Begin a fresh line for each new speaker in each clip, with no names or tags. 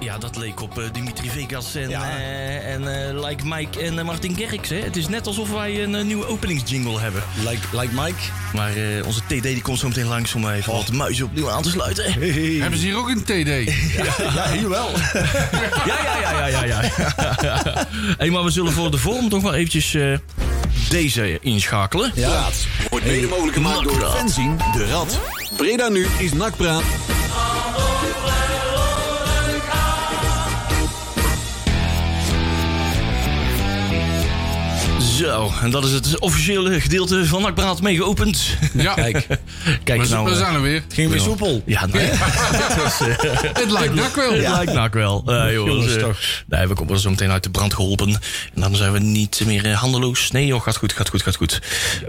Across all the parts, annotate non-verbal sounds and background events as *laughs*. Ja, dat leek op eh, Dimitri Vegas en,
Ja.
eh, en eh, Like Mike en eh, Martin Gerks. Hè? Het is net alsof wij een eh, nieuwe openingsjingle hebben.
Like, like Mike. Oh.
Maar eh, onze TD die komt zo meteen langs om eh, even wat muizen opnieuw aan te sluiten.
Hebben ze hier ook een TD?
*laughs* Ja, hier
*laughs*
wel.
Ja, ja, ja, ja, ja. ja. *laughs* hey, maar we zullen voor de vorm toch wel eventjes eh, deze inschakelen.
Ja.
Wordt mede mogelijk gemaakt door
Nakpraat.
Fenzien de Rad. Breda nu is Nakpraat.
Zo, en dat is het officiële gedeelte van Nakbraad mee geopend.
Ja,
Kijk,
*laughs* Kijk
we,
eens
zijn,
nou.
we
eh,
zijn er weer.
het ging weer soepel.
ja, nou,
*laughs*
ja.
Het lijkt nak wel.
Het lijkt nou ook wel. Eh, joh,
Jongens,
dus, eh,
toch.
nee, we komen zo meteen uit de brand geholpen. En dan zijn we niet meer eh, handeloos. Nee joh, gaat goed, gaat goed, gaat goed.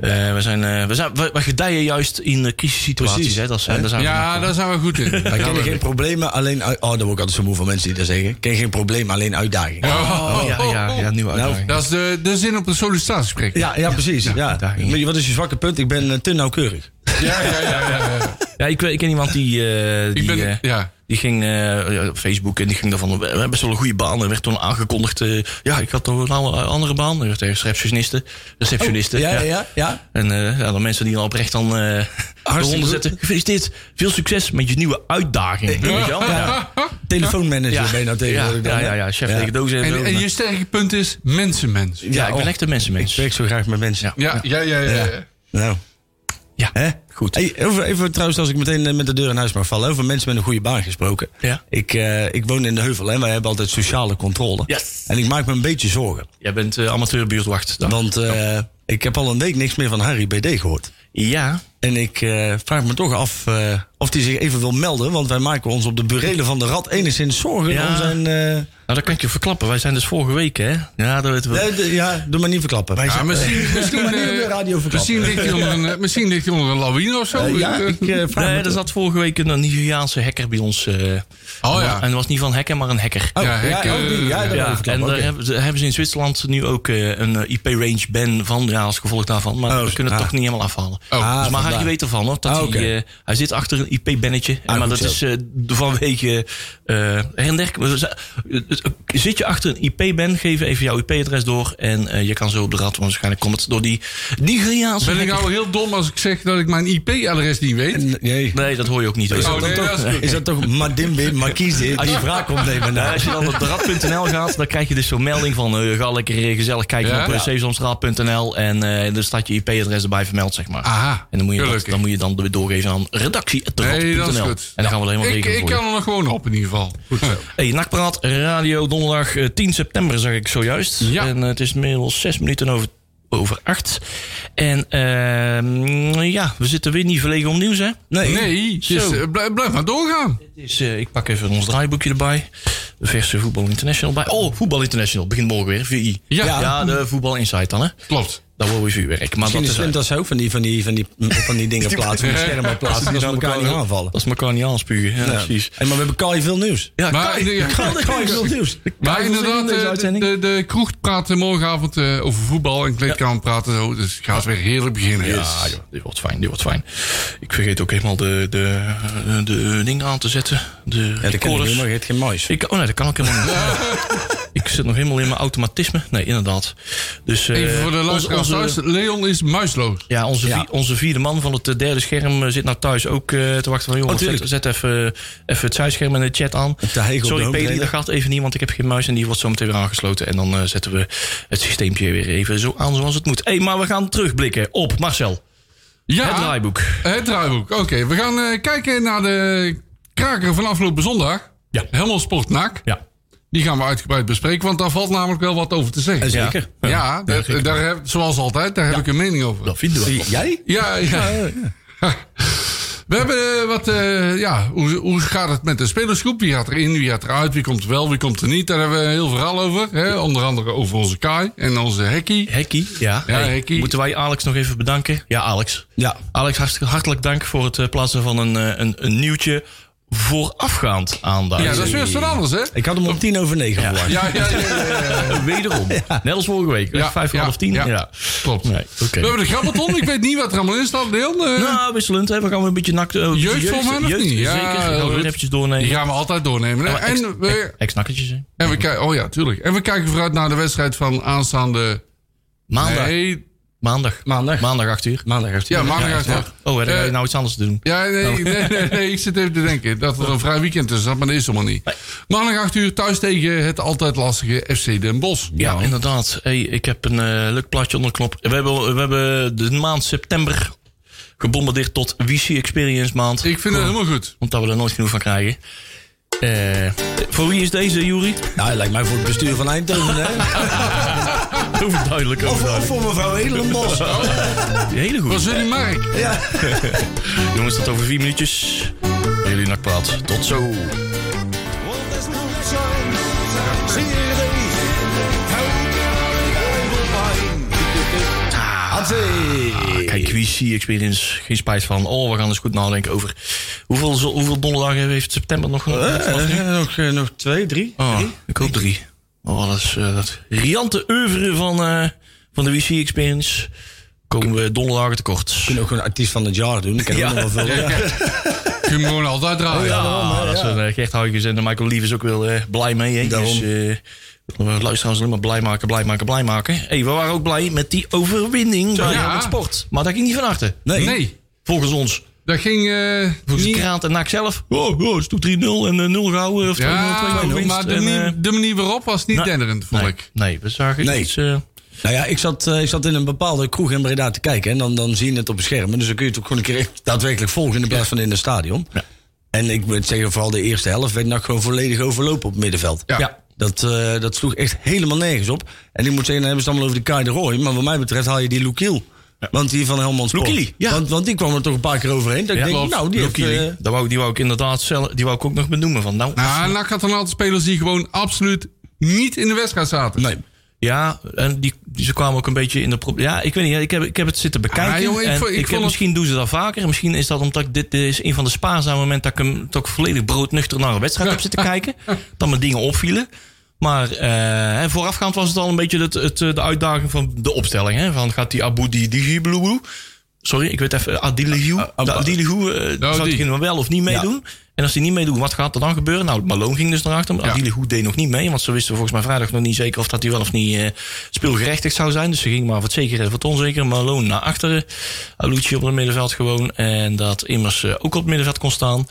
Eh, we, zijn, eh, we, zijn, we, we gedijen juist in eh, crisissituaties.
Precies.
Hè, dat zijn, daar zijn we
Ja, daar zijn we goed in.
Wij
Ja,
kennen
we-
geen problemen, alleen... uit- Oh, daar word ik altijd zo moe van mensen die dat zeggen. Ken geen problemen, alleen uitdagingen.
Oh, oh,
Oh, ja,
oh,
ja,
oh.
ja, nieuwe
Nou,
uitdaging.
Dat is de, de zin op een sollicitatiegesprek.
Ja, ja, precies. Ja,
uitdagingen.
Maar Wat is je zwakke punt? Ik ben eh, te nauwkeurig.
ja, ja, ja, ja, ja.
Ja, ik, ik ken iemand die, eh, die,
Ik ben,
eh,
ja.
die ging eh, op Facebook en die ging daarvan... We hebben best wel een goede baan. En werd toen aangekondigd... eh, ja, ik had nog een oude- andere baan. Ik werd tegen receptioniste. Receptioniste.
Oh, Ja, ja, ja. ja.
En eh, ja, dan mensen die dan oprecht dan eh eronder
goed.
zetten. Gefeliciteerd. Veel succes met je nieuwe uitdaging. Weet je wel? Ja.
Telefoonmanager ben je nou
ja,
tegenwoordig
ja,
dan, hè?
ja, ja, chef
Ja.
tegen dozen en, zo.
En, en je sterke punt is mensenmens.
ja, ik ben
oh.
echt een mensenmens.
Ik werk zo graag met mensen.
Ja, ja, ja, ja. ja.
Ja. Nou.
Ja.
Hè?
Goed.
Hey, over, even trouwens, als ik meteen eh, met de deur in huis mag vallen. Over mensen met een goede baan gesproken.
Ja.
Ik, eh, ik woon in de Heuvel en wij hebben altijd sociale controle.
Yes.
En ik maak me een beetje zorgen.
Jij bent eh, amateurbuurtwacht. Dan.
Want eh, ik heb al een week niks meer van Harry BD gehoord.
Ja. Nou,
En ik eh, vraag me toch af eh, of hij zich even wil melden. Want wij maken ons op de burelen van de rat enigszins zorgen
Ja.
om zijn... eh,
Nou, dat kan ik je verklappen. Wij zijn dus vorige week, hè? Ja, dat weten we.
nee, de- ja, doe maar niet verklappen. Wij
Ja,
zijn-
Ah, misschien, misschien,
maar niet op de
eh,
radio verklappen.
misschien, ligt hij onder een, eh, misschien ligt hij onder een lawine of zo.
Eh, ja,
Eh,
ik eh, vraag me
Nee, er zat vorige week een Nigeriaanse hacker bij ons. eh,
Oh ja.
En dat was niet van hacker, maar een hacker.
Oh,
Ja,
ja,
ik,
oh, die,
eh,
ja, dat wil ik
Ja, en
verklappen,
daar
oké.
hebben, ze, hebben ze in Zwitserland nu ook eh, een IP-range ban van, ja, als gevolg daarvan. Maar
Oh,
we kunnen het
ah.
toch niet helemaal afhalen.
Oh.
dus maar
vandaar.
Harry weet ervan, hoor. Dat
Ah, oké.
hij, eh, hij zit achter een IP-bannetje.
Ah,
maar
goed
dat is
zo.
eh, vanwege... eh her en der- we z- eh, zit je achter een IP-ban, geef even jouw IP-adres door. En eh, je kan zo op de rad, want waarschijnlijk komt het door die Nigeriaanse...
Ben ik
hacker.
nou heel dom als ik zeg dat ik mijn IP-adres niet weet?
Nee.
Nee, dat hoor je ook niet. hoor.
Oh, eh, nee, dat is goed.
Is dat toch Madimbe Marquise?
Als
Als
je-
je vraag komt nemen.
Nou,
Nou.
als je dan op de rad.nl gaat, dan krijg je dus zo'n melding van... eh, ga lekker eh, gezellig kijken
Ja?
op eh,
Ja.
sesamstraat.nl en eh dan staat je IP-adres erbij vermeld, zeg maar.
Aha,
en dan moet je, dat,
gelukkig.
dan moet je dan doorgeven aan redactie.nl.
Nee, dat is
En
goed.
dan gaan we er helemaal
Ik,
regelen
ik
voor
kan er nog gewoon op in ieder geval. Goed zo.
je. Hey, Nakpraat, radio, donderdag eh, 10 september, zeg ik zojuist.
Ja.
En eh, het is inmiddels 6 minuten over, over 8. En ehm, ja, we zitten weer niet verlegen om nieuws, hè?
Nee, het is,
Zo.
eh, blijf, blijf maar doorgaan.
Dus, eh, ik pak even ons draaiboekje erbij. De verse Voetbal International bij. Oh, Voetbal International begint morgen weer. VI.
Ja.
de Voetbal Insight dan, hè?
Klopt.
Dat wordt weer vuurwerk. Maar dat
Misschien
is,
is het dat ze ook van die, van die, van die, van die dingen plaatsen. Van die schermen plaatsen. Dat ze elkaar niet aanvallen.
dat is elkaar niet aanspugen. Ja, precies.
Hey, maar we hebben Kai veel nieuws.
Ja,
Maar,
Kai-
ja,
Kai-
Kai
Kai-
veel nieuws.
Maar
Kai,
inderdaad,
deze
eh, de,
uitzending?
de, de kroeg praat eh, morgenavond eh, over voetbal en kleedkamer praten. Zo, dus het gaat weer heerlijk beginnen.
Ja, Ah, joh, dit wordt fijn, dit wordt fijn. Ik vergeet ook helemaal de, de, de, ding aan te zetten. De
Ja, dat kan
recorders.
niet, maar je hebt geen muis.
Ik, oh nee, dat kan ik helemaal niet.
*laughs*
ik zit nog helemaal in mijn automatisme. Nee, inderdaad. Dus, eh,
Even voor de
onze-
luisteraars
onze-
thuis. Leon is muisloos.
Ja, onze,
Ja.
vi- onze vierde man van het eh, derde scherm eh, zit nou thuis ook eh, te wachten. Van, jongens,
Oh,
zet, zet even, eh, even het zijscherm en de chat aan.
Het eigen op de
Sorry,
home
Peli,
trainer.
dat gaat even niet, want ik heb geen muis en die wordt zo meteen weer aangesloten. En dan eh, zetten we het systeempje weer even zo aan zoals het moet. hey, maar we gaan terugblikken op Marcel.
Ja,
Het draaiboek.
Het draaiboek. Oké, we gaan eh, kijken naar de kraker van afgelopen zondag.
Ja.
Helemaal sportnak.
Ja.
Die gaan we uitgebreid bespreken, want daar valt namelijk wel wat over te zeggen.
Eh,
Ja,
Zeker.
daar, daar heb, zoals altijd, daar heb ik een mening over.
Dat vinden we.
Zie- Jij?
Ja, ja. We hebben eh, wat, eh, ja, hoe, hoe gaat het met de spelersgroep? Wie gaat erin, wie gaat eruit, wie komt er wel, wie komt er niet? Daar hebben we een heel verhaal over. Hè? Onder andere over onze Kai en onze Hekkie.
Hekkie, ja.
Ja, Hekkie.
Moeten wij Alex nog even bedanken? Ja, Alex.
Ja.
Alex, hartstikke hartelijk dank voor het eh, plaatsen van een, eh, een, een nieuwtje. voorafgaand aan de
Ja, dat is
uitzending.
weer wat anders, hè?
Ik had hem om tien over negen verwacht.
Ja, ja, ja, ja, ja, ja.
Wederom. Net als vorige week.
Ja,
Vijf voor
ja,
half tien.
ja.
Ja.
Klopt.
Nee, oké.
We hebben de grappelton. Ik weet niet wat er allemaal in staat, Leon. Eh,
Nou, wisselend. Hè. We gaan weer een beetje nakt. Uh,
Jeugd voor mij nog niet. Ja,
zeker. We gaan
dat-
weer eventjes doornemen.
die gaan we altijd doornemen. hè?
Maar ex-
En we,
Ex-nakkertjes. hè.
en we kijken... Oh ja, tuurlijk. En we kijken vooruit naar de wedstrijd van aanstaande...
Maandag.
Nee,
Maandag.
Maandag.
Maandag acht uur.
Maandag heeft hij.
ja, maandag. Ja,
Oh, hè, dan ga je
Eh,
nou iets anders te doen.
Ja, nee, nee, nee, nee, ik zit even te denken dat er een vrij weekend tussen zat, maar dat is helemaal niet. Maandag 8 uur thuis tegen het altijd lastige FC Den Bosch.
Ja, inderdaad. Hey, ik heb een eh, leuk plaatje onder de knop. We hebben, we hebben de maand september gebombardeerd tot WC Experience maand.
Ik vind het helemaal goed.
Omdat we er nooit genoeg van krijgen. Eh, voor wie is deze, Juri? *laughs*
Nou, hij lijkt mij voor het bestuur van Eindhoven. hè?
Overduidelijk,
Of
overduidelijk.
voor mevrouw Edelenbos.
Hele goed.
Was jullie Mark?
Jongens, tot over vier minuutjes. Jullie nakpraat. Tot zo.
Want desnoods zijn zeer deze
Ah, Kijk, WC Experience, geen spijt van. Oh, we gaan eens goed nadenken over hoeveel, zo- hoeveel donderdagen heeft september nog?
nog, eh, nog twee, drie.
Oh, ik hoop drie. Oh, dat is eh, dat riante oeuvre van, eh, van de WC Experience. Komen we donderdagen tekort.
Kunnen ook gewoon artiest van het jaar doen. Ik kan ook nog wel veel.
Kun je hem gewoon altijd draaien.
Ah, dat zijn eh, Gert Huygens en Michael Lievens ook wel eh, blij mee. Hè?
Daarom.
Dus eh, we luisteraars alleen maar blij maken, blij maken, blij maken. hey, we waren ook blij met die overwinning bij
ja.
het Sport. Maar dat ging niet van harte.
Nee.
Nee,
Volgens ons.
dat ging... eh,
Volgens
niet-
Kraant en NAC zelf. Oh, oh, is toch 3-0 en eh, 0 gehouden. Of 2-0, 2-0
Ja,
winst.
maar de
En, eh,
manier, de manier waarop was niet
nou,
denderend, vond
nee,
ik.
nee, we zagen
Nee.
iets... eh,
Nou ja, ik zat, eh, ik zat in een bepaalde kroeg in Breda te kijken. En dan, dan zie je het op het scherm. En Dus dan kun je het ook gewoon een keer *laughs* echt daadwerkelijk volgen in de plaats van in het stadion.
Ja.
En ik moet zeggen, vooral de eerste helft werd nog gewoon volledig overlopen op het middenveld.
Ja.
Ja.
Dat, eh, dat sloeg echt helemaal nergens op. En ik moet zeggen, dan hebben ze het allemaal over die Kai de Roy. Maar wat mij betreft haal je die Lukiel. Want die van Helmond Sport.
Lukili, ja.
want, want die kwam er toch een paar keer overheen. Dat ik
Ja,
denk,
klopt.
nou, die heeft...
Lukili.
eh,
Daar wou, die wou ik inderdaad zelf, die wou ik ook nog benoemen. Van, nou,
Nou, NAC had een aantal spelers die gewoon absoluut niet in de wedstrijd zaten.
nee.
Ja, en die, die- ze kwamen ook een beetje in de probleem. Ja, ik weet niet. Ik heb, ik heb het zitten bekijken.
Ah, joh, ik
en
vond-
ik
ik vond
heb-
het-
Misschien doen ze dat vaker. Misschien is dat omdat ik dit, dit is een van de spaarzame momenten dat ik hem toch volledig broodnuchter naar een wedstrijd heb
*laughs*
zitten kijken. Dat me dingen opvielen. Maar eh, hè, voorafgaand was het al een beetje het, het, eh, de uitdaging van de opstelling. Hè? Van gaat die Abu Digi Sorry, ik weet even. Adilihu.
Ab-
De Adilihu eh, zou
die.
die kunnen wel of niet meedoen. En als die niet meedoen, wat gaat er dan gebeuren? Nou, Malone ging dus naar achter. Maar
Ja.
Adilihu deed nog niet mee. Want ze wisten volgens mij vrijdag nog niet zeker of dat hij wel of niet eh, speelgerechtigd zou zijn. Dus ze ging maar voor het zekere en voor het onzekere. Malone naar achteren. Alucci op het middenveld gewoon. En dat immers eh, ook op het middenveld kon staan.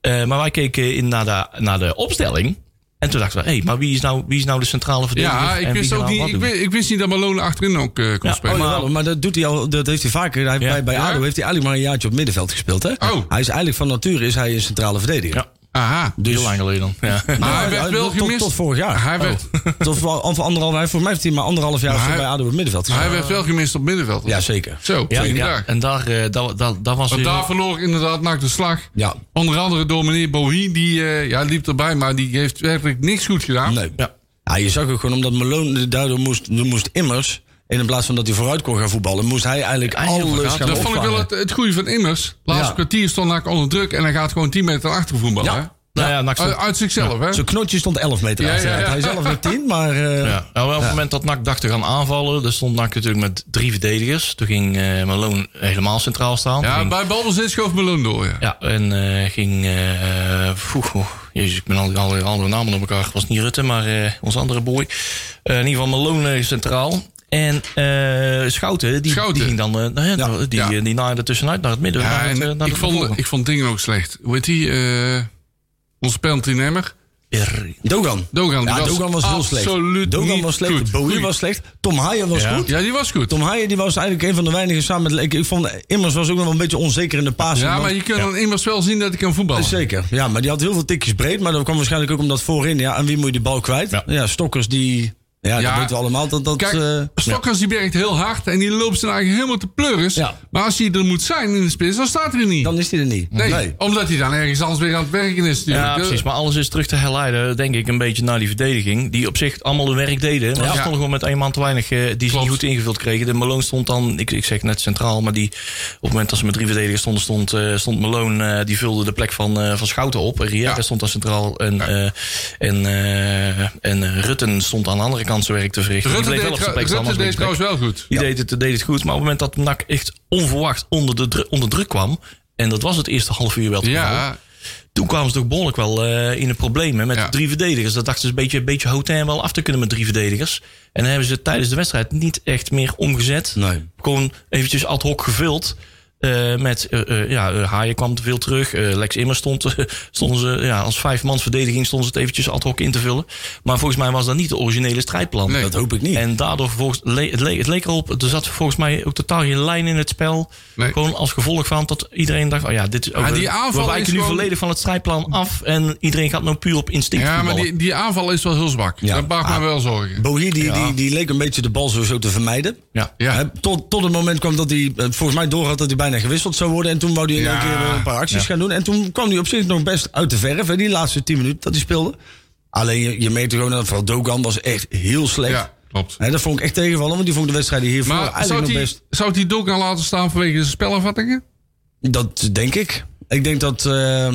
Eh, maar wij keken in naar, de, naar de opstelling. En toen dachten we, hé, maar wie is, nou, wie is nou de centrale verdediger?
Ja,
en
ik
wie
wist,
gaat
ook
nou
niet,
wat
ik,
doen?
wist, ik wist niet dat Malone achterin ook eh, kon
Ja,
spelen.
Oh, jawel, maar dat, doet hij al, dat heeft hij vaker. Hij,
Ja.
Bij, bij
Ja?
ADO heeft hij eigenlijk maar een jaartje op het middenveld gespeeld. Hè?
Oh.
Hij is eigenlijk van nature is hij een centrale verdediger.
Ja.
Aha.
Heel lang geleden dan.
*laughs*
Ja.
Maar
Ja,
Ah, hij werd
hij-
wel
tot-
gemist.
tot vorig jaar.
Hij werd,
Oh.
Tot wel of anderhalf, hij- voor mij heeft hij maar anderhalf jaar
Maar hij-
bij ADO op het middenveld
maar hij
gespeeld.
werd wel gemist op middenveld.
Ja, zeker.
Zo,
Ja,
tweede
ja.
dag.
En daar, eh, daar, daar, daar was
Want
weer-
daar verloor inderdaad NAC de slag.
Ja.
Onder andere door meneer Bohi, die eh, ja, liep erbij, maar die heeft werkelijk niks goed gedaan.
Nee.
Ja.
Ja, je zag ook gewoon omdat Malone daardoor moest, moest immers... in plaats van dat hij vooruit kon gaan voetballen... moest hij eigenlijk
Ja, heel
alles
vergaat.
gaan
Ah, Dat vond ik wel
opvangen.
het, het goede van Immers. Laatste
Ja.
kwartier stond NAC onder druk en hij gaat gewoon 10 meter achter voetballen. hè?
Nou ja, NAC
Uit,
stond-
uit zichzelf, hè?
Zijn knotje stond 11 meter
Ja,
uit.
ja, ja.
Hij zelf met 10, maar... eh,
Ja. Nou, wel op het moment dat NAC dacht te gaan aanvallen, daar stond NAC natuurlijk met drie verdedigers. Toen ging eh, Malone helemaal centraal staan. Toen
Ja,
ging-
bij balbezit schoof Malone door, ja.
ja en eh, ging. eh poeh, oh, jezus, ik ben al al alle andere namen op elkaar. Het was niet Rutte, maar eh onze andere boy. Eh, in ieder geval Malone eh, centraal. En eh Schouten, die,
Schouten.
die ging dan. eh, nou ja,
Ja.
Die,
Ja.
eh, die naaide tussenuit naar het midden.
Ja,
naar het,
en
eh, naar
ik,
de
vond,
voren.
ik vond dingen ook slecht. Hoe heet die? eh onze penalty nemer.
Er-
Dogan.
Dogan, die
ja,
was
Dogan was heel slecht.
absoluut
Dogan
niet
was slecht.
goed.
Bowie
Goed.
was slecht. Tom Haaien was
Ja.
goed.
Ja, die was goed.
Tom Haaien die was eigenlijk een van de weinigen samen met... Ik, ik vond Immers was ook nog wel een beetje onzeker in de paas.
Ja, maar je kunt dan immers wel zien dat ik kan voetballen.
Zeker, ja, maar die had heel veel tikjes breed. Maar dat kwam waarschijnlijk ook omdat voorin, ja, en wie moet je de bal kwijt? Ja,
Ja.
stokkers die Ja,
Ja.
dat weten we allemaal. Dat, dat,
Kijk,
eh,
Stokkers die werkt heel hard en die loopt zijn eigen helemaal te pleuris.
Ja.
Maar als hij er moet zijn in de spits, dan staat hij er niet.
dan is die er niet.
nee, omdat hij dan ergens anders weer aan het werken is. natuurlijk.
Ja,
De-
precies. Maar alles is terug te herleiden, denk ik, een beetje naar die verdediging. Die op zich allemaal hun werk deden. Maar
Ja.
ze stonden gewoon met één man te weinig eh, die ze
Klopt.
niet goed ingevuld kregen. De Malone stond dan, ik, ik zeg net centraal, maar die, op het moment dat ze met drie verdedigers stonden, stond, eh, stond Malone, eh, die vulde de plek van, eh, van Schouten op. Riera
Ja.
stond daar centraal en, eh, en, eh, en eh, Rutten stond aan de andere kant zijn werk te verrichten.
Rutte
die bleef
deed,
wel op zijn plek
tra-
staan
Rutte
als
deed
linksback.
trouwens wel goed.
Die deed, het, deed het goed, maar op het moment dat NAC echt onverwacht onder, de, dru- onder druk kwam... en dat was het eerste half uur wel te houden,
Ja,
toen kwamen ze toch behoorlijk wel eh, in de problemen met
Ja.
de drie verdedigers. Dat dachten ze een beetje, een beetje Hotel wel af te kunnen met drie verdedigers. En dan hebben ze het tijdens de wedstrijd niet echt meer omgezet.
Nee.
Gewoon eventjes ad hoc gevuld. eh, met, eh, eh, ja, eh, Haaien kwam te veel terug. eh, Lex Immer stond, stonden ze, ja, als vijfmans verdediging stonden ze het eventjes ad hoc in te vullen. Maar volgens mij was dat niet het originele strijdplan.
Nee.
Dat hoop ik niet.
En daardoor volgens, le- het, le- het leek erop, er zat volgens mij ook totaal geen lijn in het spel.
Nee.
Gewoon als gevolg van dat iedereen dacht, oh ja, dit is ook,
Maar die
we-
aanval
we
is
wijken nu
gewoon-
volledig van het strijdplan af en iedereen gaat nou puur op instinct
ja maar
voetballen.
die, die aanval is wel heel zwak.
Ja. Ah,
Dat maakt me wel zorgen.
Bowie die, die, die leek een beetje de bal sowieso te vermijden.
Ja.
Ja.
Hè, tot, tot het moment kwam dat hij eh, volgens mij door had dat hij bijna gewisseld zou worden. En toen wou hij in
Ja.
één keer weer een paar acties gaan doen. En toen kwam hij op zich nog best uit de verf. Hè, die laatste 10 minuten dat hij speelde. Alleen je, je merkte gewoon dat vooral Dogan was echt heel slecht.
Ja, klopt.
Hè, dat vond ik echt tegenvallen. Want die vond de wedstrijd hiervoor
Maar zou
eigenlijk nog
die,
best...
zou die Dogan laten staan vanwege zijn spelafvattingen?
Dat denk ik. Ik denk dat eh, eh,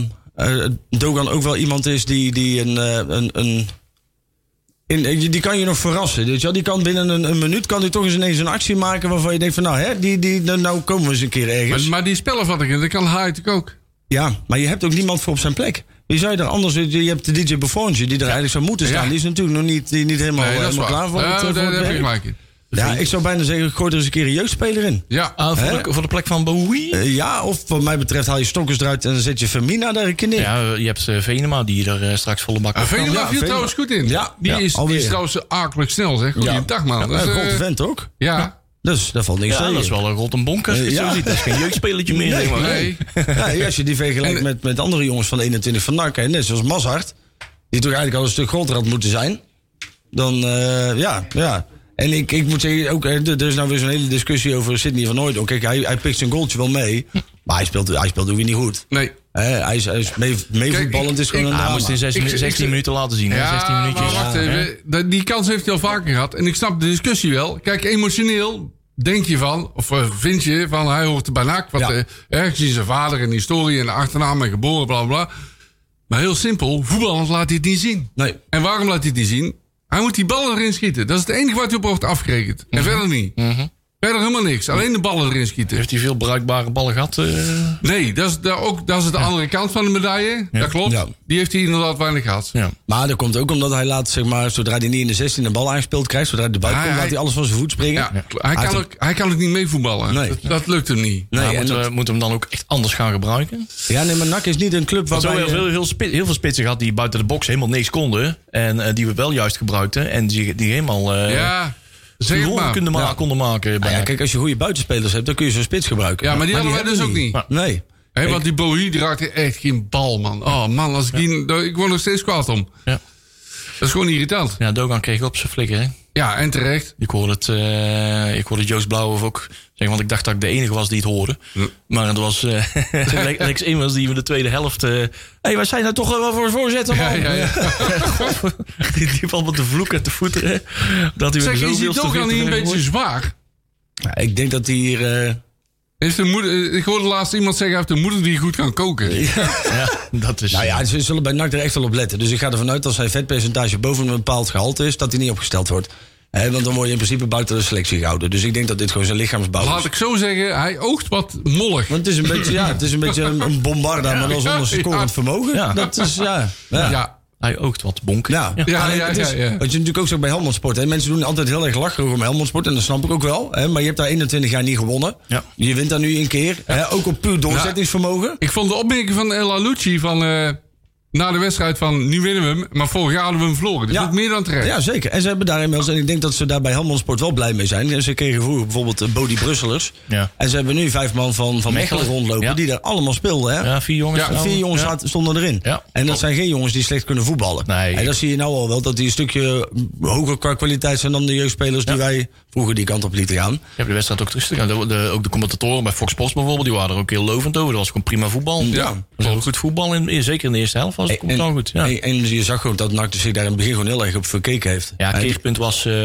Dogan ook wel iemand is die, die een. eh, een, een in, eh, die kan je nog verrassen. Weet je wel? Die kan binnen een, een minuut kan die toch eens ineens een actie maken waarvan je denkt van nou, hè, die, die, nou, nou komen we eens een keer
Maar,
ergens.
maar die spelafvattingen, dat kan hij natuurlijk ook.
ja, maar je hebt ook niemand voor op zijn plek. Wie zou je er anders? Je hebt de DJ Buffonje die er eigenlijk zou moeten staan.
Ja.
Die is natuurlijk nog niet, die niet helemaal,
Nee, dat is
helemaal
waar.
klaar voor. het,
Ja,
eh, voor
daar
het
heb je
werk.
gelijk in.
ja, ik zou bijna zeggen, gooi er eens een keer een jeugdspeler in.
Ja.
Ah, voor, de, voor de plek van Bowie?
Eh, ja, of wat mij betreft haal je stokkers eruit en dan zet je Femina daar een keer neer.
Ja, je hebt eh, Venema die er eh, straks volle bak
Ah,
op kan.
Venema
ja,
viel
Venema.
trouwens goed in.
Ja,
die,
ja,
is, die
alweer.
is trouwens akelig snel, zeg. Goeiedag, man.
Ja,
Dat is,
een grote
eh,
vent ook.
ja.
Dus daar valt niks
Dus, Ja,
tegen.
dat is wel een rot en bonkers. als je het
Ja.
zo ziet. Dat is
*laughs*
geen jeugdspelletje meer. zeg maar.
Eh, Nee.
Ja, als je die vergelijkt met, met andere jongens van de 21 van NAC, hè, net zoals Mazart, die toch eigenlijk al een stuk groter had moeten zijn, dan eh, ja, ja. En ik, ik moet zeggen, ook, hè, er er is nou weer zo'n hele discussie over Sidney van Ooit. Kijk, hij, hij pikt zijn goaltje wel mee, maar hij speelt, hij speelt ook weer niet goed.
Nee.
Hè, hij is, hij is mee, meevoetballend is gewoon
ik-
een
ik-
Ah, hij
drama.
moest in zes-
Ik- ik-
16 minuten laten zien. hè, 16
Ja, maar
minuutjes.
wacht
Ja, hè?
even. Dat- Die kans heeft hij al vaker gehad. En ik snap de discussie wel. Kijk, emotioneel denk je van, of eh, vind je van, hij hoort er bij NAC. Wat,
Ja.
eh, hè, gezien zijn vader en historie en de achternaam en geboren, bla bla. bla. Maar heel simpel, voetballers laat hij het niet zien.
Nee,
En waarom laat hij het niet zien? Hij moet die ballen erin schieten. Dat is het enige wat hij op wordt afgerekend. En verder niet. Verder helemaal niks. Alleen de ballen erin schieten.
Heeft hij veel bruikbare ballen gehad? eh?
Nee, dat is, daar ook, dat is de andere kant van de medaille. Dat klopt.
Ja.
Die heeft hij inderdaad weinig gehad.
ja.
maar dat komt ook omdat hij laat, zeg maar, zodra hij niet in de 16 de bal aangespeeld krijgt, zodra hij de buiten
Hij-
komt, laat
hij-
hij alles van zijn voet springen.
Ja, Hij,
Hij
kan
had-
ook, hij kan ook niet meevoetballen.
Nee.
Dat, dat lukt hem niet.
Ja,
Nee, en
Nou, moeten, we,
dat-
moeten we hem dan ook echt anders gaan gebruiken?
ja, nee, maar NAC is niet een club
Zo
waarbij...
heel,
je-
eh,
veel, heel, spi- heel veel spitsen gehad die buiten de box helemaal niks konden. En eh, die we wel juist gebruikten. En die, die helemaal eh
Ja,
die
zeg het
rollen
maar.
konden, ma- konden maken.
Nou
Bij
ja, kijk, als je goede buitenspelers hebt, dan kun je zo'n spits gebruiken.
Ja, maar die hadden wij dus ook niet.
Nee.
Hé, want die Bowie die raakte echt geen bal, man. Oh man, als ik, die, daar- ik word nog steeds kwaad om.
Ja.
Dat is gewoon irritant.
ja, Dogan kreeg op zijn flikker. Hè?
Ja, en terecht.
Ik hoorde het, eh, ik hoorde Joost Blauw ook zeggen, want ik dacht dat ik de enige was die het hoorde. Maar het was eh, *laughs* Le- Lex Immers die we de tweede helft... eh, Hé, wij zijn daar toch wel voor voorzetten, man.
Ja, ja, ja.
*laughs* die liep allemaal te vloeken en te voeteren. Dat hij
Zeg,
weer
is die
zoveelste
toch al
victor
niet een
heeft
beetje
gehoord.
zwaar?
Ja, Nou, ik denk dat die hier... eh,
Heeft de moeder, eh, ik hoorde laatst iemand zeggen, hij heeft een moeder die goed kan koken.
*laughs* Ja, dat is...
nou ja, ze zullen bij NAC er echt wel op letten. Dus ik ga ervan uit dat zijn vetpercentage boven een bepaald gehalte is, dat hij niet opgesteld wordt. Hè, want dan word je in principe buiten de selectie gehouden. Dus ik denk dat dit gewoon zijn lichaamsbouw
Laat
is.
ik zo zeggen, hij oogt wat mollig.
Want het is een beetje, ja, het is een, beetje een, een bombarda, maar dan zonder scorend
Ja.
vermogen.
Ja.
Dat is, ja. ja.
Ja,
Hij oogt wat bonk.
Ja, ja,
Ja,
ja,
ja,
het is-
ja, ja.
Wat je natuurlijk ook zegt bij Helmond Sport. Hè. Mensen doen altijd heel erg lacherig om Helmond Sport. En dat snap ik ook wel. Hè. Maar je hebt daar 21 jaar niet gewonnen.
Ja.
Je wint daar nu een keer. Hè. Ook op puur doorzettingsvermogen.
ik vond de opmerking van El Alouchi van... eh, na de wedstrijd van nu winnen we hem, maar vorig jaar hadden we hem verloren. Dus
Ja.
dat is meer dan terecht.
Ja, zeker. En ze hebben daar inmiddels, en ik denk dat ze daar bij Helmond Sport wel blij mee zijn. En Ze kregen vroeger bijvoorbeeld eh, Bodie Brusselers.
Ja.
En ze hebben nu vijf man van, van Mechelen.
Mechelen.
rondlopen,
Ja.
die daar allemaal speelden. Hè?
Ja, vier jongens.
Ja,
Nou,
Vier jongens
ja.
zaten- stonden erin.
Ja.
En dat zijn geen jongens die slecht kunnen voetballen.
Nee.
En dat zie je nou al wel, dat die een stukje eh, hoger qua kwaliteit zijn dan de jeugdspelers die wij vroeger die kant op lieten gaan.
Je hebt de wedstrijd ook teruggestuurd. De, de, ook de commentatoren bij Fox Sports bijvoorbeeld, die waren er ook heel lovend over. Dat was gewoon prima voetbal.
Ja,
dat was ook goed voetbal, in, zeker in de eerste helft was het komt dan goed. Ja,
en, en je zag gewoon dat NAC zich daar in het begin gewoon heel erg op verkeken heeft.
ja
En-
keerpunt was eh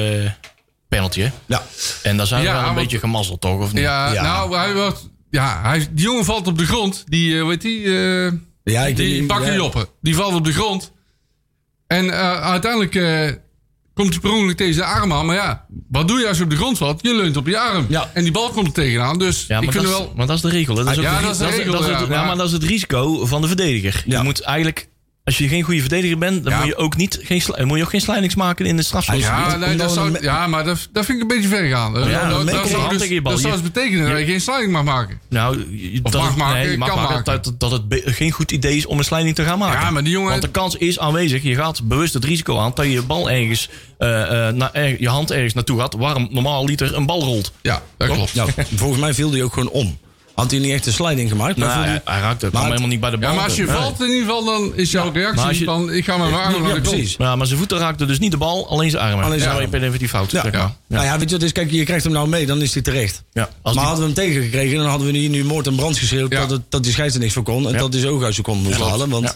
penalty, hè?
ja.
En daar zijn
Ja,
we wel een
want-
beetje gemazzeld, toch? Of niet?
Ja,
Ja.
nou, hij wordt. Ja, hij, die jongen valt op de grond. Die, eh weet die? eh,
Ja, ik
die
denk-
bakken
ja.
joppen. Die valt op de grond. En eh, uiteindelijk eh, komt hij per ongeluk tegen zijn arm aan. Maar ja, wat doe je als je op de grond valt? Je leunt op je arm.
Ja.
En die bal komt er tegenaan. Dus
Ja,
ik
maar, dat
vind
is,
wel...
maar dat is de regel. hè. Dat is ook
Ja,
het-
dat is de
dat
regel,
dat is
ja,
het- ja,
maar-
maar dat is het risico van de verdediger.
Ja.
Je moet eigenlijk, als je geen goede verdediger bent, dan
Ja. Ah,
moet je ook niet geen, sli- moet je ook geen slijdings maken in de strafschopgebied.
Ja,
Omdat
nee, dat
we
zou,
met-
ja, maar dat, dat vind ik een beetje ver gaan. Dat,
ja,
dat,
met-
dat, zou
hand
dus,
tegen je bal.
dat zou
Je-
dus betekenen dat je geen sliding mag maken.
Nou, je-
Of
dat,
mag
het-
maken,
nee, je mag
kan
maken,
maken.
Dat, dat het be- geen goed idee is om een sliding te gaan maken.
Ja, maar die
Ah,
jongen-
Want de kans is aanwezig. Je gaat bewust het risico aan dat je je bal ergens, eh, eh, naar, er- je hand ergens naartoe gaat, waar een normaal liter een bal rolt.
Ja, dat klopt.
Ja,
Ja,
volgens mij viel die ook gewoon om. Had hij niet echt een sliding gemaakt, maar
Nou,
viel die-
hij, hij raakt het
Maar
kwam
het-
helemaal niet bij de bal.
maar als je
Nee.
valt in ieder geval, dan is jouw
maar
reactie
als je-
van... Ik ga met mijn arm
Ja,
naar de grond.
precies.
Ja, maar zijn voeten raakten dus niet de bal, alleen zijn armen.
Alleen zijn
ja,
armen.
je bent even fout.
Ja.
zeg maar.
Ja.
Nou ja, weet je wat is? Kijk, je krijgt hem nou mee, dan is hij terecht.
Ja, als
maar
die-
hadden we hem tegengekregen, dan hadden we hier nu moord en brand geschreeuwd...
Ja.
Dat, het, dat die scheids er niks voor kon. En dat is ook uit zijn kont moest
klopt.
halen. Want,
Ja.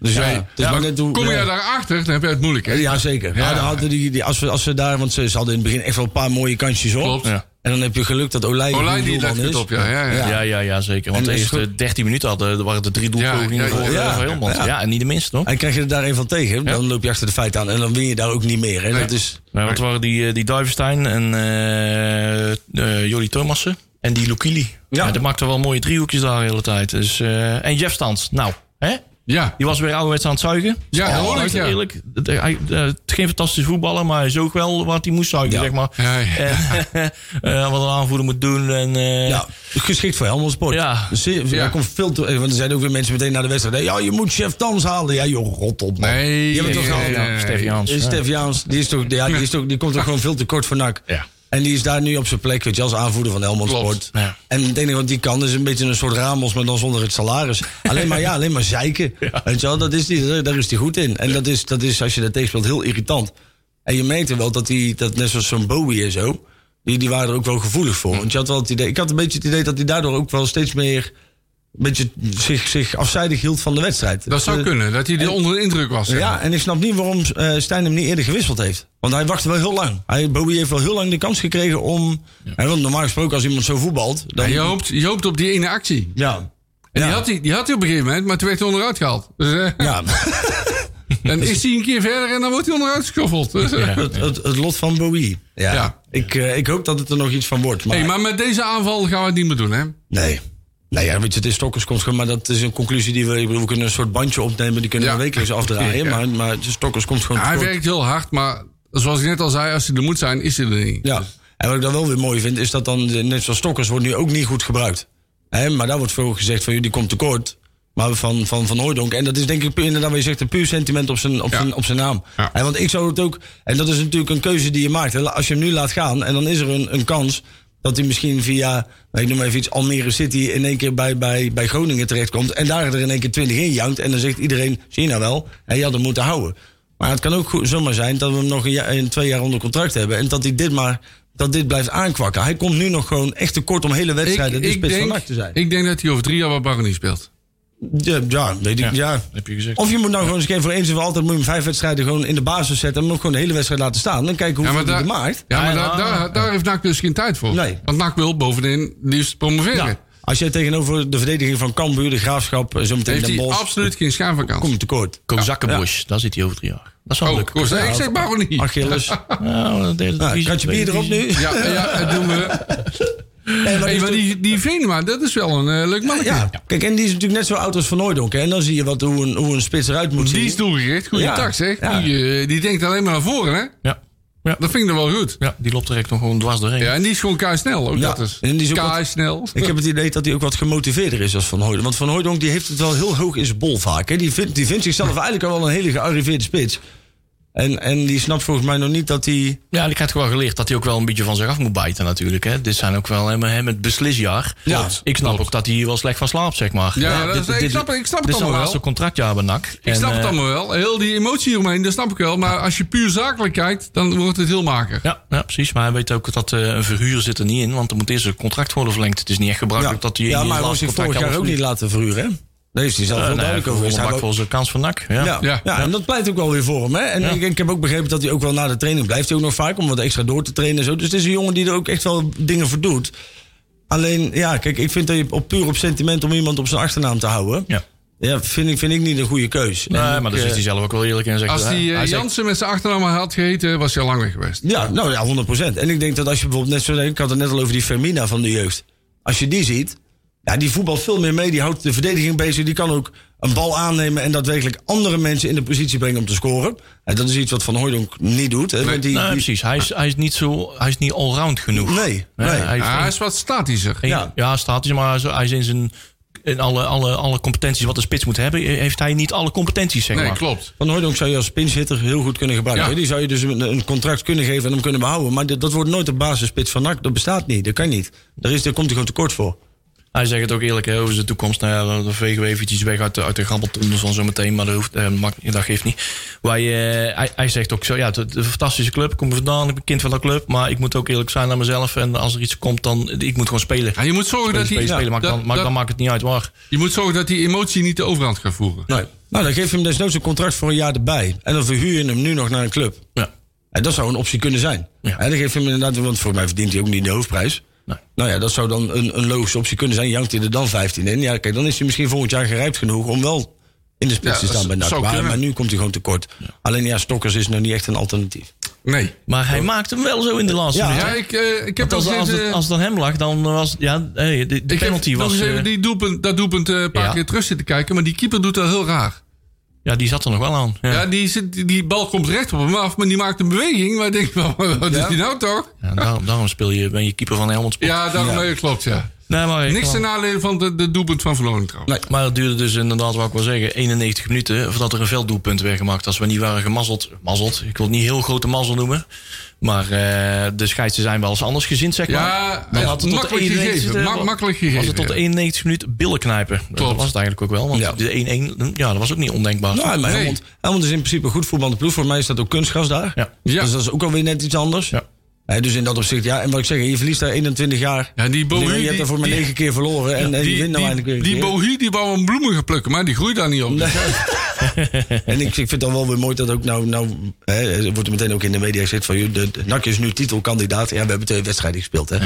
Dus ja,
Ja.
het is maar net hoe...
Kom
ja.
je daarachter, dan heb je het moeilijk. Hè?
Ja, zeker.
Ja.
Ja. dan hadden die, die, als, we, als ze daar... Want ze, ze hadden in het begin echt wel een paar mooie kansjes op.
Klopt.
Ja.
En dan heb je geluk dat Olij een
Olij
goede
die
doelman
legt het
is.
op, ja. ja, ja.
Ja.
Ja, ja, ja, zeker. Want
En
de
is
eerste 13 minuten hadden, waren er drie doelpogingen
Ja, ja,
voor, eh,
ja.
voor Helmond.
Ja.
Ja. en niet de minste, hoor.
En krijg je er daar een van tegen, dan loop je achter de feiten aan. En dan win je daar ook niet meer. Hè? Dat is,
Nou, dat waren die, eh, die Duivenstein en eh eh, Jolie Thomassen en die Lukili.
Ja.
Ja. die maakten wel mooie driehoekjes daar de hele tijd. Dus, eh, en Jeff Stans, nou, hè?
Ja.
Die was weer ouderwets aan het zuigen. Oh,
Ja, dat hoor ik, ja.
Eerlijk, het, hij, eh, het is geen fantastische voetballer, maar hij zoog wel wat hij moest zuigen,
Ja.
zeg maar.
Ja, ja.
En, eh, *laughs* wat een aanvoerder moet doen. En, eh,
Ja, geschikt voor Helmond Sport.
Ja.
Dus je-
Ja.
Er komt veel te, want er zijn ook weer mensen meteen naar de wedstrijd. Ja, je moet Chef Dans halen. Ja, joh, rot op, man.
Nee,
Die hebben
nee,
toch nou, al-
nee,
Ja,
nee.
Stef Jans.
Is Stef Jaans, die, is toch, ja, die, is toch, die komt toch gewoon veel te kort voor NAC.
Ja.
En die is daar nu op zijn plek, weet je, als aanvoerder van Helmond
Klopt.
Sport.
Ja.
En het enige wat die kan is een beetje een soort Ramos, maar dan zonder het salaris. Alleen maar, ja, alleen maar zeiken. Weet je wel, dat is die, daar- daar is hij goed in. En dat is, dat is, als je dat tegenspeelt, heel irritant. En je merkte wel dat die, dat net zoals zo'n Bowie en zo, die, die waren er ook wel gevoelig voor. Want je had wel het idee, ik had een beetje het idee dat hij daardoor ook wel steeds meer, een beetje zich, zich afzijdig hield van de wedstrijd.
Dat zou
Eh,
kunnen, dat hij er onder de indruk was. zeg maar.
ja, en ik snap niet waarom eh, Stijn hem niet eerder gewisseld heeft. Want hij wachtte wel heel lang. Hij, Bobby heeft wel heel lang de kans gekregen om... Hè, want normaal gesproken, als iemand zo voetbalt... Dan,
En je, hoopt, je hoopt op die ene actie.
Ja.
En
Ja.
die, had hij, die had hij op een gegeven moment, maar toen werd hij onderuit gehaald. Dus, eh,
*laughs* Ja.
Dan is hij een keer verder en dan wordt hij onderuit geschoffeld. Dus, eh.
het, het, het lot van Bowie. Ja.
Ja.
Ik, eh, ik hoop dat het er nog iets van wordt. Maar,
Hey, maar met deze aanval gaan we het niet meer doen, hè?
Nee. Nee, ja, weet je, het is Stokkerskomst, maar dat is een conclusie die we... Ik bedoel, we kunnen een soort bandje opnemen, die kunnen
Ja.
we wekelijks afdraaien.
Ja.
Maar, maar Stokkerskomst gewoon...
Hij
tekort.
werkt heel hard, maar zoals ik net al zei, als hij er moet zijn, is hij er niet.
Ja, Dus- en wat ik dan wel weer mooi vind, is dat dan, eh, net zoals Stokkers, wordt nu ook niet goed gebruikt. Hè, maar daar wordt veel gezegd van, joh, die komt tekort. Maar van Van, van Hooijdonk. En dat is denk ik pu- inderdaad wat je zegt, een puur sentiment op zijn, op
Ja.
zijn, op zijn naam.
Ja.
Hè, want ik zou het ook... En dat is natuurlijk een keuze die je maakt. hè. Als je hem nu laat gaan, en dan is er een, een kans... dat hij misschien via, ik noem maar even iets, Almere City... in één keer bij, bij, bij Groningen terechtkomt. En daar er in één keer 20 in jankt. En dan zegt iedereen, zie je nou wel, hij had hem moeten houden. Maar het kan ook goed- zomaar zijn dat we hem nog een, jaar- een twee jaar onder contract hebben. En dat hij dit maar... Dat dit blijft aankwakken. Hij komt nu nog gewoon echt tekort om hele
Ik,
wedstrijden de
ik,
spits van
denk,
NAC te zijn.
ik denk dat hij over drie jaar bij Barony speelt.
ja, ja, weet ik. Ja.
heb je gezegd.
Of je moet nou gewoon eens een keer voor eens en voor altijd moet je hem vijf wedstrijden gewoon in de basis zetten. En hem gewoon de hele wedstrijd laten staan. Dan kijken
Ja,
hoeveel
maar,
hij
daar,
er maakt.
ja, maar
Ja,
daar,
ja.
daar, daar heeft NAC dus geen tijd voor.
Nee.
Want NAC wil bovenin liefst promoveren.
Ja. Als jij tegenover de verdediging van Cambuur, de Graafschap, eh, zometeen
Heeft
Den
hij
Bosch...
absoluut geen schijn van kans.
Kom je tekort.
Kozakkenbosch, daar zit hij over drie jaar. Dat zou
Oh,
lukken.
Koos, ik zeg Barony.
Achilles.
Nou, de,
nou, kratje bier erop *laughs* nu.
Ja, ja, dat
*laughs*
doen we.
Nee, maar
Hey,
die-
maar die, die Venema, dat is wel een eh, leuk mannetje.
ja. Kijk, en die is natuurlijk net zo oud als Van Hooijdonk. hè. En dan zie je wat, hoe, een, hoe een spits eruit moet zien.
Die is doelgericht. Goeie
Ja.
tak, zeg.
Ja.
Die, eh, die denkt alleen maar naar voren, hè?
Ja. Ja.
Dat vind ik dan wel goed.
Ja, die loopt direct nog gewoon dwars doorheen.
Ja, en die is gewoon keisnel. Ook
Ja,
dat is.
en die is ook wat-
Keisnel.
Ik heb het idee dat hij ook wat gemotiveerder is als Van Hooydonk. Want Van Hooydonk die heeft het wel heel hoog in zijn bol vaak. Hè. Die, vindt, die vindt zichzelf eigenlijk al wel een hele gearriveerde spits. En, en die snapt volgens mij nog niet dat hij...
Ja, ik had gewoon geleerd dat hij ook wel een beetje van zich af moet bijten natuurlijk. Hè. Dit zijn ook wel hem, hem het beslisjaar.
Ja,
ik snap ook dat hij hier wel slecht van slaapt, zeg maar.
Ja, dat is- ik snap- ik snap het
Dit is zijn
allemaal
laatste
wel.
contractjaar bij NAC.
Ik
eh.
snap
eh,
het allemaal wel. Heel die emotie hieromheen, dat snap ik wel. Maar als je puur zakelijk kijkt, dan wordt het heel mager.
Ja, ja, precies. Maar hij weet ook dat eh, een verhuur zit er niet in. Want er moet eerst een contract worden verlengd. Het is niet echt gebruikelijk Oh, dat hij... in
ja,
je
maar hij was
laatste
zich vorig
contract
jaar ook
al-
niet laten verhuren. Hè? Daar heeft hij zelf
Eh,
heel
nee,
duidelijk over.
Volle
Hij
bak
wou-
voor zijn kans van NAC. Ja.
Ja, ja.
Ja.
en dat pleit ook wel weer voor hem. Hè? En
Ja.
ik, ik heb ook begrepen dat hij ook wel na de training blijft. Hij ook nog vaak om wat extra door te trainen en zo. Dus het is een jongen die er ook echt wel dingen voor doet. Alleen, ja, kijk, ik vind dat je op, puur op sentiment om iemand op zijn achternaam te houden.
Ja.
Ja, vind ik, vind ik niet een goede keus. En
Nee,
ik,
maar daar
eh,
is hij zelf ook wel eerlijk in. Zegt
Als
hij,
die eh,
hij zegt-
Jansen met zijn achternaam had geheten, was hij al lang weg geweest.
Ja, nou ja, 100%. En ik denk dat als je bijvoorbeeld net zo. Ik had het net al over die Fermina van de jeugd. Als je die ziet, ja, die voetbalt veel meer mee. Die houdt de verdediging bezig. Die kan ook een bal aannemen en daadwerkelijk andere mensen in de positie brengen om te scoren. En dat is iets wat Van Hooydonk niet doet. Hè? want die,
Nee,
die-
precies. Hij is, hij is niet zo... Hij is niet allround genoeg.
Nee, nee.
hij heeft
Ah, hij
geen-
is wat statischer.
Geen-
Ja.
ja. statisch, maar hij is- hij is in zijn. In alle, alle, alle competenties wat een spits moet hebben, eh, heeft hij niet alle competenties, zeg
Nee,
maar.
klopt.
Van Hooydonk zou je als pinchhitter heel goed kunnen gebruiken.
Ja.
hè. Die zou je dus een, een contract kunnen geven en hem kunnen behouden. Maar dit- dat wordt nooit de basisspits van NAC. Dat bestaat niet. Dat kan niet. Daar, is, daar komt hij gewoon tekort voor.
Hij zegt het ook eerlijk hè, over zijn toekomst. Nou ja, dan- dan vegen we eventjes weg uit de, uit de grabbeltoenders van zometeen. Maar dat, hoeft, eh, mag- dat geeft niet. Wij, eh, hij, hij zegt ook zo, ja, het het is een fantastische club. Ik kom er vandaan, ik ben kind van dat club. Maar ik moet ook eerlijk zijn naar mezelf. En als er iets komt, dan ik moet gewoon spelen.
En je moet zorgen
Spelen,
dat
spelen,
hij...
spelen. Maar
dat-
dan, maar
dat-
dan maakt het niet uit waar.
Je moet zorgen dat die emotie niet de overhand gaat voeren.
Nee. Nou, dan geef je hem desnoods een contract voor een jaar erbij. En dan verhuur je hem nu nog naar een club.
Ja.
En dat zou een optie kunnen zijn.
Ja.
En dan geeft hij hem inderdaad, want voor mij verdient hij ook niet de hoofdprijs.
Nee.
Nou ja, dat zou dan een, een logische optie kunnen zijn. Jankt hij er dan 15 in? Ja, kijk, dan is hij misschien volgend jaar gerijpt genoeg om wel in de spits
Ja,
te staan
dat
bij NAC.
zou
Maar,
kunnen.
maar nu komt hij gewoon tekort. Alleen ja, Stokkers is nog niet echt een alternatief.
Nee.
Maar hij maakt hem wel zo in de laatste
Ja.
minuut.
Ja, ik, eh, ik heb
Als,
wel
als,
eens...
het,
eh,
als het aan hem lag, dan was... Ja, hey, de, de
ik heb
penalty
wel
was...
eens even
eh,
die doelpunt, dat doelpunt eh, een paar
Ja.
keer terug zitten kijken. Maar die keeper doet dat heel raar.
Ja, die zat er nog wel aan. Ja.
Ja, die, zit, die- die bal komt recht op hem af, maar die maakt een beweging. Maar ik denk, *laughs* wat wat is
Ja.
die nou toch?
Ja, daarom, daarom speel je, ben je keeper van Helmond Sport.
Ja, daarom eh, klopt, ja.
Nee, maar,
Niks ten nadele van de, de doelpunt van Verloren trouwens.
maar dat duurde dus inderdaad, wat ik wil zeggen, 91 minuten voordat er een velddoelpunt werd gemaakt. Als we niet waren gemazzeld, mazzeld, ik wil het niet heel grote mazzel noemen. Maar eh, de scheidsen zijn wel eens anders gezind, zeg maar.
Ja, ja,
had het tot
makkelijk
91
gegeven.
eh,
Mak- makkelijk gegeven.
Was het tot de 91 minuut billen knijpen. Eh, Dat
Klopt.
was het eigenlijk ook wel. Want
Ja.
de 1-1, ja, dat was ook niet ondenkbaar.
Nou, maar
Nee.
Helmond, Helmond is in principe een goed voetballende ploeg. Voor mij is dat ook kunstgras daar.
Ja.
Ja.
Dus dat is ook alweer net iets anders.
Ja.
Hè, dus in dat opzicht, ja. En wat ik zeg, je verliest daar 21 jaar.
Ja, die Bohu,
je
die-
hebt er voor maar
die-
9 keer verloren. En, en je
die,
wint nou eindelijk weer
die,
een
die
keer.
Bohu die wou een bloemen gaan plukken, maar die groeit daar niet op.
*laughs* En ik, ik vind het dan wel weer mooi dat ook nou, nou hè, er wordt er meteen ook in de media gezegd van, joh, de, de NAC is nu titelkandidaat. Ja, we hebben twee wedstrijden gespeeld, hè.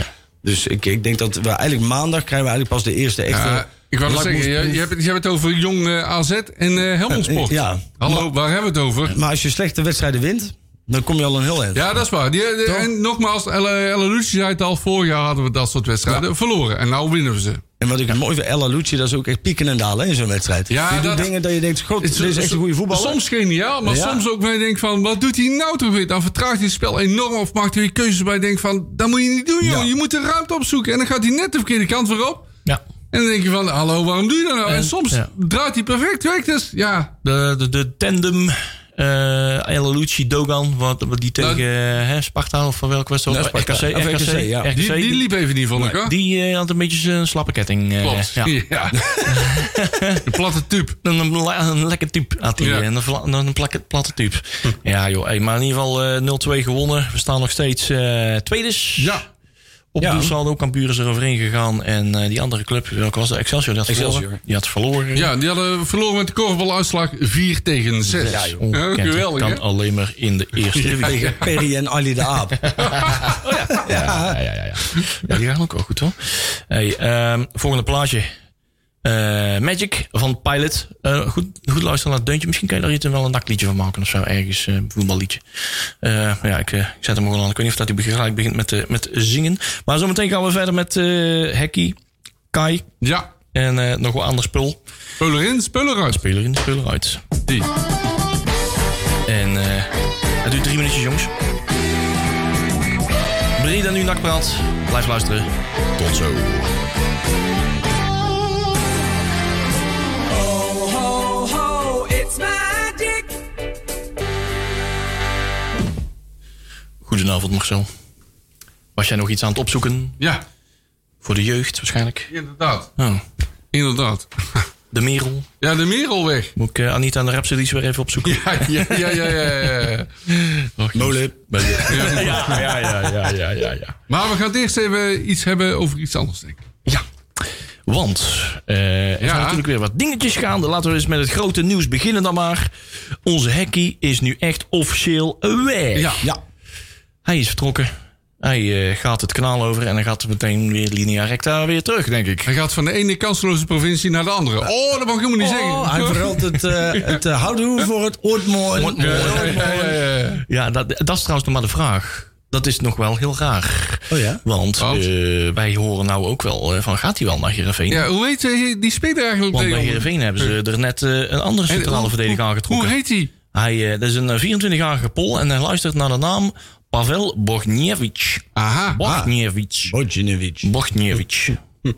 Dus ik, ik denk dat we eigenlijk maandag krijgen we eigenlijk pas de eerste echte...
Ja, ik wou net
lakmoes-
zeggen, je, je, hebt, het- je hebt het over jong eh, AZ en eh, Helmond Sport.
Ja.
Hallo, waar hebben we het over?
Maar als je slechte wedstrijden wint, dan kom je al een heel eind.
Ja, dat is waar. Die, die-
Toch?
en nogmaals, Elle Elle Lucie zei het al, vorig jaar hadden we dat soort wedstrijden verloren. En nou winnen we ze.
En wat ik mooi vind, Ella Lucci, dat is ook echt pieken en dalen hè, in zo'n wedstrijd.
Ja,
die doet
dat-
dingen dat je denkt, god, dit is echt een goede voetballer.
Soms geniaal, maar
Ja.
soms ook waar je denkt van... wat doet hij nou toch weer? Dan vertraagt hij het spel enorm of maakt hij weer keuzes bij. Je denkt van, dat moet je niet doen, joh.
Ja.
Je moet de ruimte opzoeken. En dan gaat hij net de verkeerde kant weer op.
Ja.
En dan denk je van, hallo, waarom doe je dat nou? En,
En,
soms
ja.
draait hij perfect weg. Dus ja,
De, de, de tandem eh Elalucci Dogan, wat, wat die tegen eh, hè, Sparta of van welke wedstrijd?
Ja, Sparta.
RKC,
Of
RKC,
RKC, ja.
RKC,
die, die liep even niet, vond ik, hoor.
die eh, had een beetje een slappe ketting. eh,
Klopt.
ja.
Ja. *laughs* Een platte tube.
Een, een, la- een lekker type had hij.
Ja.
En een, vla- een, een plakke- platte type. Ja joh, hey, maar in ieder geval eh 0-2 gewonnen. We staan nog steeds eh tweedes.
Ja.
Op
Ja.
doelsaldo, Cambuur is er overheen gegaan. En eh, die andere club, welke was dat? Excelsior, die had
Excelsior.
verloren. Die had verloren.
ja, die hadden verloren met de korfbaluitslag 4 tegen 6.
Ja, joh. Ongekend.
geweldig,
Oh, kan
hè?
alleen maar in de eerste divisie.
Tegen Perry en Ali de
*laughs*
Aap.
ja, ja, ja, ja. ja die gaan ook wel goed hoor. Hey, ehm, volgende plaatje. Eh, Magic van Pilot. Eh, goed, goed luisteren naar het deuntje. Misschien kan je daar iets wel een nakliedje van maken of zo. Ergens eh, een voetballiedje. Eh, maar ja, ik, eh, ik zet hem gewoon aan. Ik weet niet of dat hij begrijpt begint met, eh, met zingen. Maar zometeen gaan we verder met eh Hekkie, Kai
Ja.
en eh, nog wel ander spul.
Spullen in, spullen uit.
Speler in, speler uit.
Die.
En eh het duurt drie minuutjes jongens.
Thank
Hier dan nu Nakpraat. Blijf luisteren. Tot zo.
Ho, ho, ho, it's magic.
Goedenavond Marcel. Was jij nog iets aan het opzoeken?
Ja,
Voor de jeugd waarschijnlijk.
inderdaad.
Oh,
Inderdaad.
de Merel.
Ja, de Merelweg.
Moet ik eh, Anita en de Rhapsodies weer even opzoeken?
*laughs* Ja, ja, ja, ja, ja, ja.
Molen.
Ja.
*laughs* Ja, ja, ja, ja, ja, ja, ja.
Maar we gaan het eerst even iets hebben over iets anders, denk ik.
Ja. Want eh, er
Ja.
zijn natuurlijk weer wat dingetjes gaande. Laten we eens met het grote nieuws beginnen dan maar. Onze hackie is nu echt officieel weg.
Ja.
Ja.
Hij is vertrokken. Hij eh, gaat het kanaal over en dan gaat hij meteen weer linea recta weer terug, denk ik.
Hij gaat van de ene kansloze provincie naar de andere. Oh, dat mag ik helemaal niet
Oh, hij
zeggen.
verhaalt het, eh het eh, houdoe voor het oordmooi.
*laughs* Ja, ja, ja, ja.
Ja, dat, dat is trouwens nog maar de vraag. Dat is nog wel heel raar.
Oh ja?
Want
Want?
eh, wij horen nou ook wel eh, van gaat hij wel naar Heerenveen?
Ja, hoe heet eh, die speler eigenlijk?
Want bij
tegenwoordig?
Heerenveen hebben ze er net eh, een andere
En
centrale
hoe-
verdediger
hoe-
aangetrokken.
Hoe heet hij?
Hij eh, dat is een 24-jarige Pol en hij luistert naar de naam Pavel Bogniewicz.
Aha.
Bogniewicz.
Bojinovic.
Bogniewicz.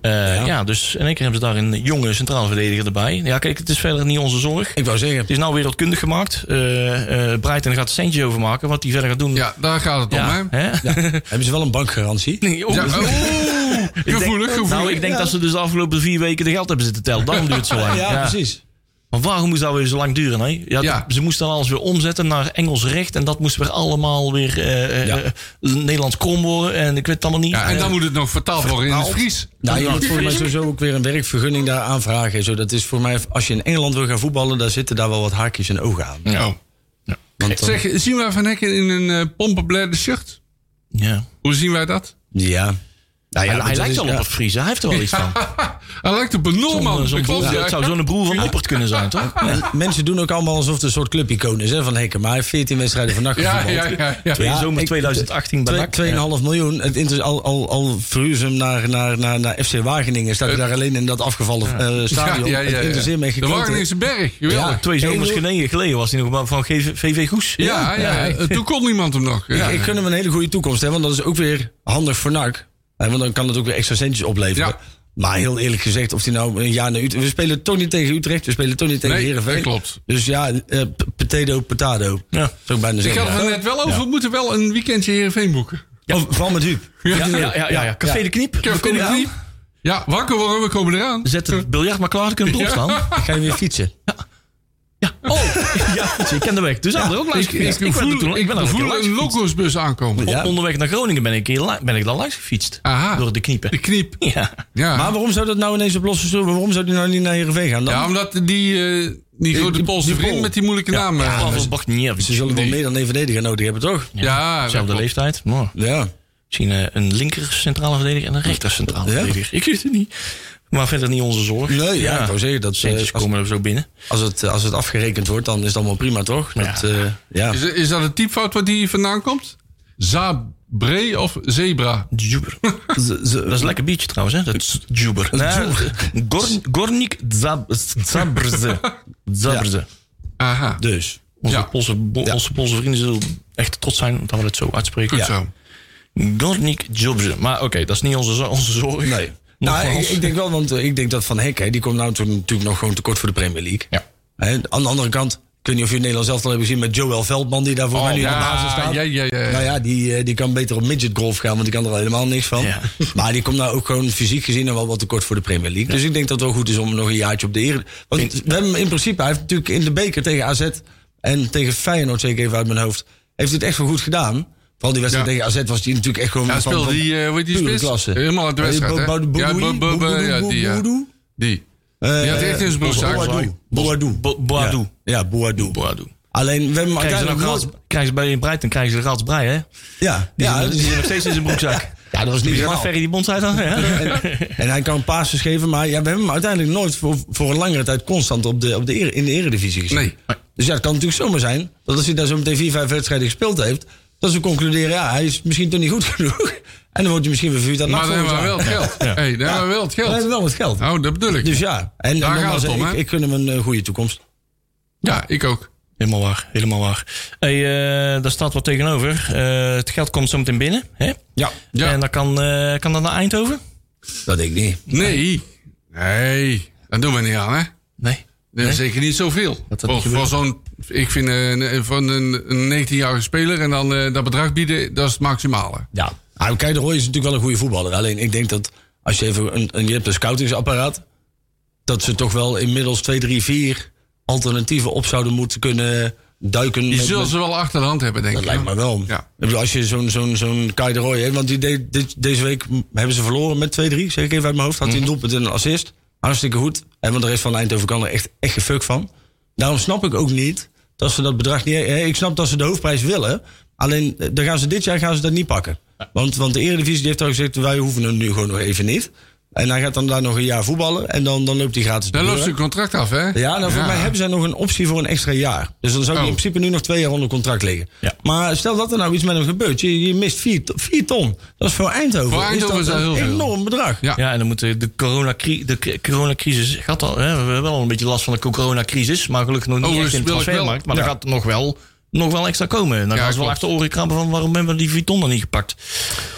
Eh, ja. dus in één keer hebben ze daar een jonge centrale verdediger erbij. Ja, kijk, het is verder niet onze zorg.
Ik wou zeggen,
Het is nou wereldkundig gemaakt. Eh eh Breiten gaat er centjes over maken. Wat hij verder gaat doen.
Ja, daar gaat het om, hè?
Ja, hè?
hebben ze wel een bankgarantie?
Nee, oh.
Ja, oeh,
Ik denk-
gevoelig, gevoelig.
Nou, ik denk
Ja.
dat ze dus de afgelopen vier weken de geld hebben zitten tellen. Daarom duurt het zo lang.
Ja,
Ja.
precies.
Maar waarom moest dat weer zo lang duren? Hè? Ja,
Ja.
Ze moesten dan alles weer omzetten naar Engels recht. En dat moest weer allemaal weer eh, eh,
Ja.
eh, Nederlands krom worden. En ik weet het allemaal niet.
Ja, en dan
Eh,
moet het nog vertaald worden in het Fries.
Nou, je moet volgens mij sowieso ook weer een werkvergunning daar aanvragen. Zo, dat is voor mij, als je in Engeland wil gaan voetballen, daar zitten daar wel wat haakjes en ogen aan.
Ja.
Want dan-
Zeg, zien wij Van Hekken in een eh, pompenbladen shirt?
ja.
Hoe zien wij dat?
ja. Nou
Hij,
maar
hij
dat
lijkt
is-
wel
ja.
op een Friese. Hij heeft er wel iets van.
Hij lijkt op een Norman.
eh, Zo'n- zo'n
Dat klopt,
broer-
ja.
het zou zo'n broer van Oppert kunnen zijn, toch?
En mensen doen ook allemaal alsof het een soort clubicoon is hè, van Hekken. Maar hij heeft 14 wedstrijden vannacht
Ja,
gevoetbald.
ja, ja, ja.
In
Ja,
zomer
ik-
2018 bij
Twee-
NAC.
2,5 miljoen. Het inter- al, al, al verhuur ze hem naar, naar, naar, naar FC Wageningen. Staat hij daar alleen in dat afgevallen eh, stadion.
Ja, ja, ja,
Het interesseert me
ja.
echt
De
geen klote.
Wageningse Berg, geweldig.
Twee zomers
Ik bedoel-
geleden, geleden was hij nog maar van GV VV Goes.
Ja, ja, ja. Eh, Toen kon niemand hem nog. Ja.
Ik, ik gun hem een hele goede toekomst. Hè, want dat is ook weer handig voor NAC. Hè, want dan kan het ook weer extra centjes opleveren.
Ja.
Maar heel eerlijk gezegd, of hij nou een jaar naar Utrecht... We spelen toch niet tegen Utrecht. We spelen toch niet tegen
Nee,
Heerenveen.
dat klopt.
Dus ja, eh, p- potato, potato.
Ja.
Zou ik bijna
Ik
zeggen.
had het er net wel over, we moeten wel een weekendje Heerenveen boeken.
Of, vooral met Huub.
Ja, ja, ja, ja, ja. Café de Kniep.
Ik heb het niet. Ja, wakker worden, we komen eraan.
Zet het biljart maar klaar, dan kunnen we erop staan.
Ik ga je weer fietsen.
Ja. Oh, ja, zie, ik ken de weg. Dus ja, ook langs
Ik, ik,
gefietst. Ik, ben er toen-
voel,
ik ben er
ik
een keer
voel
langs
een
gefietst.
locosbus aankomen.
Ja.
Op- Onderweg naar Groningen ben ik, hier la- ben ik dan langs gefietst.
Aha.
Door de kniepen.
De kniep.
*laughs* Ja.
Ja.
Maar waarom zou dat nou ineens op losse stoel? Waarom zou die nou niet naar Heerenveen gaan? Dan?
Ja, omdat die, eh, die grote
die-
Poolse
die
vriend
Pool.
met die moeilijke naam. eh,
Pavel
was-
Bogdanievic.
Ze zullen wel meer dan één verdediger nodig hebben, toch?
Ja,
Zelfde
dat
leeftijd. Nou,
Ja.
misschien eh, een linker centrale verdediger en een rechter centrale
Ja?
verdediger. Ik weet het niet. Maar verder niet onze zorg.
Nee, ja, ik wou zeggen, dat, eh,
Centjes
als-
komen er zo binnen.
Als het, als het afgerekend wordt, dan is het allemaal prima, toch? Dat, eh, ja.
klopt. Is, is dat een typfout waar die vandaan komt? Zabre of zebra?
Djuber. Dat is een lekker biertje trouwens, hè? Dat is Djuber. Nee, Gorn- Gornik Zab- *laughs* Zabrze. Zabrze.
Aha.
Dus.
Onze,
Ja.
Poolse, bo- onze Poolse vrienden zullen echt trots zijn dat we het zo uitspreken.
Goed
Ja.
zo.
Gornik Djubze. Maar oké, dat is niet onze, zo- onze zorg.
Nee. Nou, ik,
Nogmaals.
ik denk wel, want eh, ik denk dat Van Hek, hè, die komt nou toen natuurlijk nog gewoon tekort voor de Premier League.
Ja.
Hè, aan de andere kant, ik weet niet of je Nederland zelf al hebt gezien met Joel Veldman, die daar voor mij nu aan de basis staat.
ja, ja, ja.
Nou ja, die, eh, die kan beter op midget golf gaan, want die kan er al helemaal niks van.
Ja.
*laughs* Maar die komt nou ook gewoon fysiek gezien en wel wat tekort voor de Premier League. Dus ik denk dat het wel goed is om hem nog een jaartje op de heren. Want we hebben hem in principe, hij heeft natuurlijk in de beker tegen AZ en tegen Feyenoord, zeker even uit mijn hoofd, heeft het echt wel goed gedaan. Vooral die wedstrijd
Ja.
tegen AZ was die natuurlijk echt gewoon
Ja,
van-
speelde
van
die, eh, hoe heet die
pure
spits?
klasse.
Helemaal uit de
Eh,
wedstrijd, hè?
Bo- Bo-
Ja,
Boedoe,
Bo- Bo- Bo-
Boedoe,
ja,
Bo-
die, ja.
Boedoe.
Die.
Eh,
Die had echt in zijn broek zakken.
Boadou. Boadou.
Bo- Boadou.
Ja, Boadou.
Boadou.
Alleen, we hebben
Krijgen ze, nou
uiteindelijk
gratis,
nooit-
krijgen ze bij Breiten krijgen ze gratis brei, hè?
Ja,
Die,
ja,
zijn, die
dus-
zijn nog steeds in zijn broekzak.
*laughs* ja, dat was niet
Die
normaal.
gaan Ferry die bondsheid aan. Ja. *laughs*
En hij kan passes geven, maar ja, we hebben hem uiteindelijk nooit voor, voor een langere tijd constant op de, op de ere- in de eredivisie gezien.
Nee.
Dus ja, het kan natuurlijk zomaar zijn dat als hij daar zo meteen vier, vijf wedstrijden gespeeld heeft, dat ze concluderen, ja, hij is misschien toch niet goed *laughs* genoeg. En dan wordt hij misschien weer verhuurd aan
Maar dan hebben we wel het
geld.
geld. hey, dan hebben we wel het
We hebben
geld.
wel het geld.
Nou, dat bedoel ik.
Dus ja, en,
Daar
en
gaat
nogmaals,
het om, hè?
ik, ik gun hem een eh, goede toekomst.
Ja, ik ook.
Helemaal waar, helemaal waar. Hey, eh, daar staat wat tegenover. Eh, het geld komt zometeen binnen. Hè?
Ja,
Ja.
En dan kan, eh, kan dat naar Eindhoven?
dat denk ik niet.
Nee. Nee. Dat doen we niet aan, hè?
Nee.
Nee, Zeker niet zoveel.
Dat dat
Voor,
niet gebeurt.
voor zo'n, ik vind eh, een- van een, een 19-jarige speler en dan eh, dat bedrag bieden, dat is het maximale.
Ja. Nou, kijk, de Roy is natuurlijk wel een goede voetballer. Alleen ik denk dat als je even een, een, je hebt een scoutingsapparaat, dat ze toch wel inmiddels twee, drie, vier alternatieven op zouden moeten kunnen duiken.
Die
met-
zullen
met-
ze wel achter de hand hebben, denk
dat
ik.
lijkt
hoor.
me wel.
Ja.
Ik bedoel, Als je zo'n zo'n zo'n Kai de Roy hebt, want die deed, dit, deze week m- hebben ze verloren met 2-3, zeg ik even uit mijn hoofd. Had
Mhm.
hij een doelpunt en een assist. Hartstikke goed. En want de rest van Eindhoven kan er echt, echt geen fuck van. Daarom snap ik ook niet dat ze dat bedrag niet... hè, Ik snap dat ze de hoofdprijs willen. Alleen eh, dan gaan ze dit jaar gaan ze dat niet pakken. Want, want de Eredivisie die heeft al gezegd, wij hoeven hem nu gewoon nog even niet. En hij gaat dan daar nog een jaar voetballen. En dan, dan loopt hij gratis
Dan
de deur
loopt
uit.
zijn contract af, hè?
Ja, nou, voor
Ja.
mij hebben zij nog een optie voor een extra jaar. Dus dan zou die
Oh.
in principe nu nog twee jaar onder contract liggen.
Ja.
Maar stel dat er nou iets met hem gebeurt. Je, je mist vier, to- vier ton. Dat is voor Eindhoven,
Voor Eindhoven
is dat
is dat
een
heel veel.
enorm bedrag.
Ja.
Ja, en dan moet de, de, coronacri- de cri- coronacrisis. Gaat al, hè, we hebben wel een beetje last van de coronacrisis. Maar gelukkig nog niet
Overigens
echt in de
wil ik Oh, dus wel-
transfermarkt. Maar
ja.
dan gaat er nog wel, nog wel extra komen. En Dan
Ja,
gaan ze wel
klopt.
achter de oren krabben van waarom hebben we die Vuitton dan niet gepakt.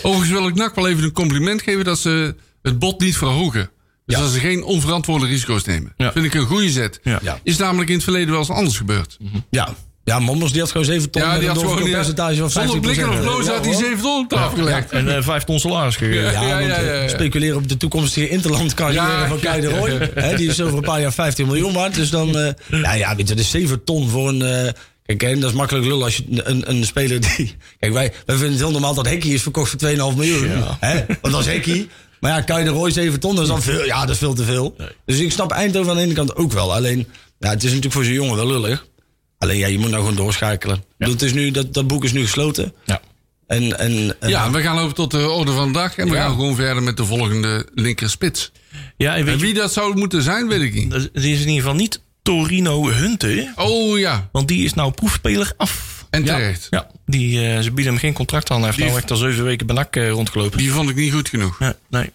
Overigens wil ik NAC wel even een compliment geven dat ze het bod niet verhogen. Dus dat ze geen onverantwoorde risico's nemen.
Ja.
Vind ik een goede zet.
Ja.
Ja.
Is namelijk in het verleden wel eens anders gebeurd.
Ja. ja, Mommers die had gewoon 7 ton.
Ja,
met
die
een
had gewoon
doorverkoop
niet-
percentage van 15%.
Zonder blikken of bloos
Ja,
had hij
hoor.
7 ton op tafel gelegd.
En eh, vijf ton salaris gegeven.
Ja.
Ja, want,
ja, ja,
eh,
ja.
speculeren op de toekomstige interland carrière
Ja,
van Kai de
ja,
Roy.
ja.
Hè, die is over een paar jaar 15 miljoen waard. Dus dan, eh nou ja, weet je, dat is 7 ton voor een... eh, kijk, en dat is makkelijk lul als je een, een speler die... Kijk, wij, wij vinden het heel normaal dat Hekkie is verkocht voor 2,5 miljoen. Hè? Want dat is Hekkie. Maar ja, Kai de Roy 7 ton, dat is dan veel. Ja, dat is veel te veel. Dus ik snap Eindhoven aan de ene kant ook wel. Alleen, ja, het is natuurlijk voor zo'n jongen wel lullig. Alleen, ja, je moet nou gewoon doorschakelen. Dat, is nu, dat, dat boek is nu gesloten.
Ja.
En, en, en-
Ja, we gaan over tot de orde van de dag. En we gaan gewoon verder met de volgende linkerspits.
Ja, en weet
En
je,
wie dat zou moeten zijn, weet ik niet.
dat is in ieder geval niet Torino Hunte.
Oh ja,
Want die is nou proefspeler af.
en terecht.
Ja, die, eh, ze bieden hem geen contract aan. Hij heeft nou echt al zeven weken bij NAC eh, rondgelopen.
Die vond ik niet goed genoeg.
Ja, nee,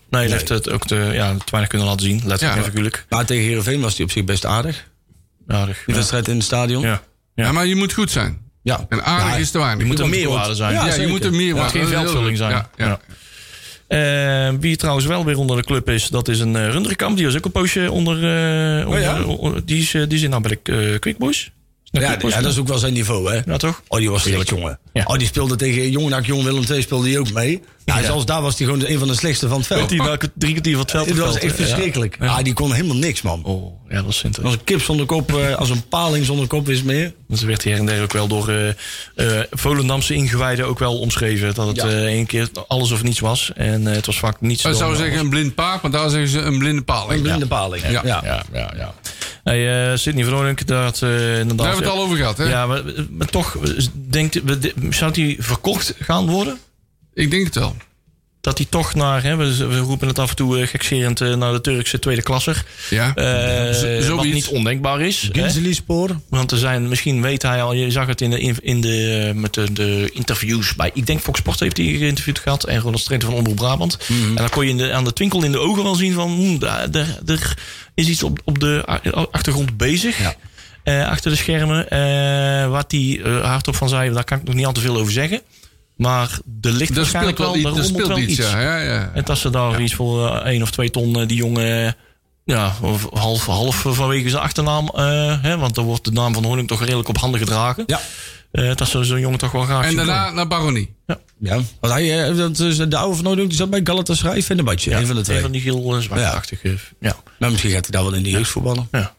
nee, hij heeft het ook te, ja, te weinig kunnen laten zien. Letterlijk
Ja.
en figuurlijk.
Maar tegen Heerenveen was hij op zich best aardig.
Aardig.
Die
Ja.
wedstrijd in het stadion.
Ja.
Ja.
Ja.
maar je moet goed zijn.
Ja.
En aardig
Ja,
is te weinig.
Je moet er
Want-
meerwaarde zijn.
Ja,
Ja,
je
zeker.
moet er meer
Het moet geen veldvulling zijn.
Ja, ja.
Ja. Eh, wie trouwens wel weer onder de club is, dat is een eh, Runderkamp. Die was ook een poosje onder. eh, onder
Oh, ja?
o- die, is, eh, die is in nou bij de eh, Quick Boys.
Ja, ja, dat is ook wel zijn niveau, hè?
Ja, toch?
Oh, die was slecht, jongen.
Ja.
Oh, die speelde tegen Jong NAC, Jong Willem II speelde hij ook mee. Nou, zelfs daar was hij gewoon een van de slechtste van het veld.
Die nou drie kwartier van het veld
Het was
geveld,
echt
eh, ja.
verschrikkelijk. Ah, die kon helemaal niks, man.
Oh, ja, dat is interessant.
Als een kip zonder kop, eh, als een paling zonder kop is meer.
Dat werd hier en der ook wel door eh eh, Volendamse ingewijden ook wel omschreven. Dat het
Ja. Oh,
eh één keer alles of niets was. En eh, het was vaak niets.
Ik
dan
zou
alles.
zeggen een blind paard, maar daar zeggen ze een blinde
Een
paling.
blinde
Ja.
paling.
Ja.
Ja.
Ja, ja, ja. Hey, eh Sidney van Oorlink, dat eh inderdaad...
Daar hebben we het al over gehad, hè?
Ja, maar, maar toch, denkt, zou die verkocht gaan worden?
Ik denk het wel.
Dat die toch naar, hè, we, we roepen het af en toe eh, gekserend eh, naar de Turkse tweede klasser.
Ja.
Eh,
Z-
wat
zoiets.
niet ondenkbaar is. hè.
Ginselispoor.
Want er zijn, misschien weet hij al, je zag het in de, in, in de, eh, met de, de interviews bij, ik denk Fox Sport heeft hij geïnterviewd gehad en Ronald Strenten van Omroep Brabant.
Mhm.
En dan kon je in de, aan de twinkel in de ogen wel zien van, hmm, daar, daar, er is iets op, op de a- achtergrond bezig. Eh, achter de schermen. Eh, wat hij eh, hardop van zei, daar kan ik nog niet al te veel over zeggen. Maar er ligt
Er speelt
waarschijnlijk
wel
wel,
iets.
er
Er
rommelt
speelt
wel
iets,
iets.
ja. ja, ja.
En dat ze daar iets voor eh, één of twee ton eh, die jongen... eh, Ja, of half, half vanwege zijn achternaam. eh, hè, want dan wordt de naam van Honing toch redelijk op handen gedragen.
Ja.
Eh, dat ze zo'n jongen toch wel graag
En
zien
daarna
komen.
naar Baronie.
Ja. Want hij, eh, dat is de oude van Noordhoek, die zat bij Galatasaray, Fenerbahce.
Ja,
een van de twee.
Een van die heel eh, zwartachtige. Ja.
Nou, misschien gaat hij daar wel in de jeugd voetballen.
Ja.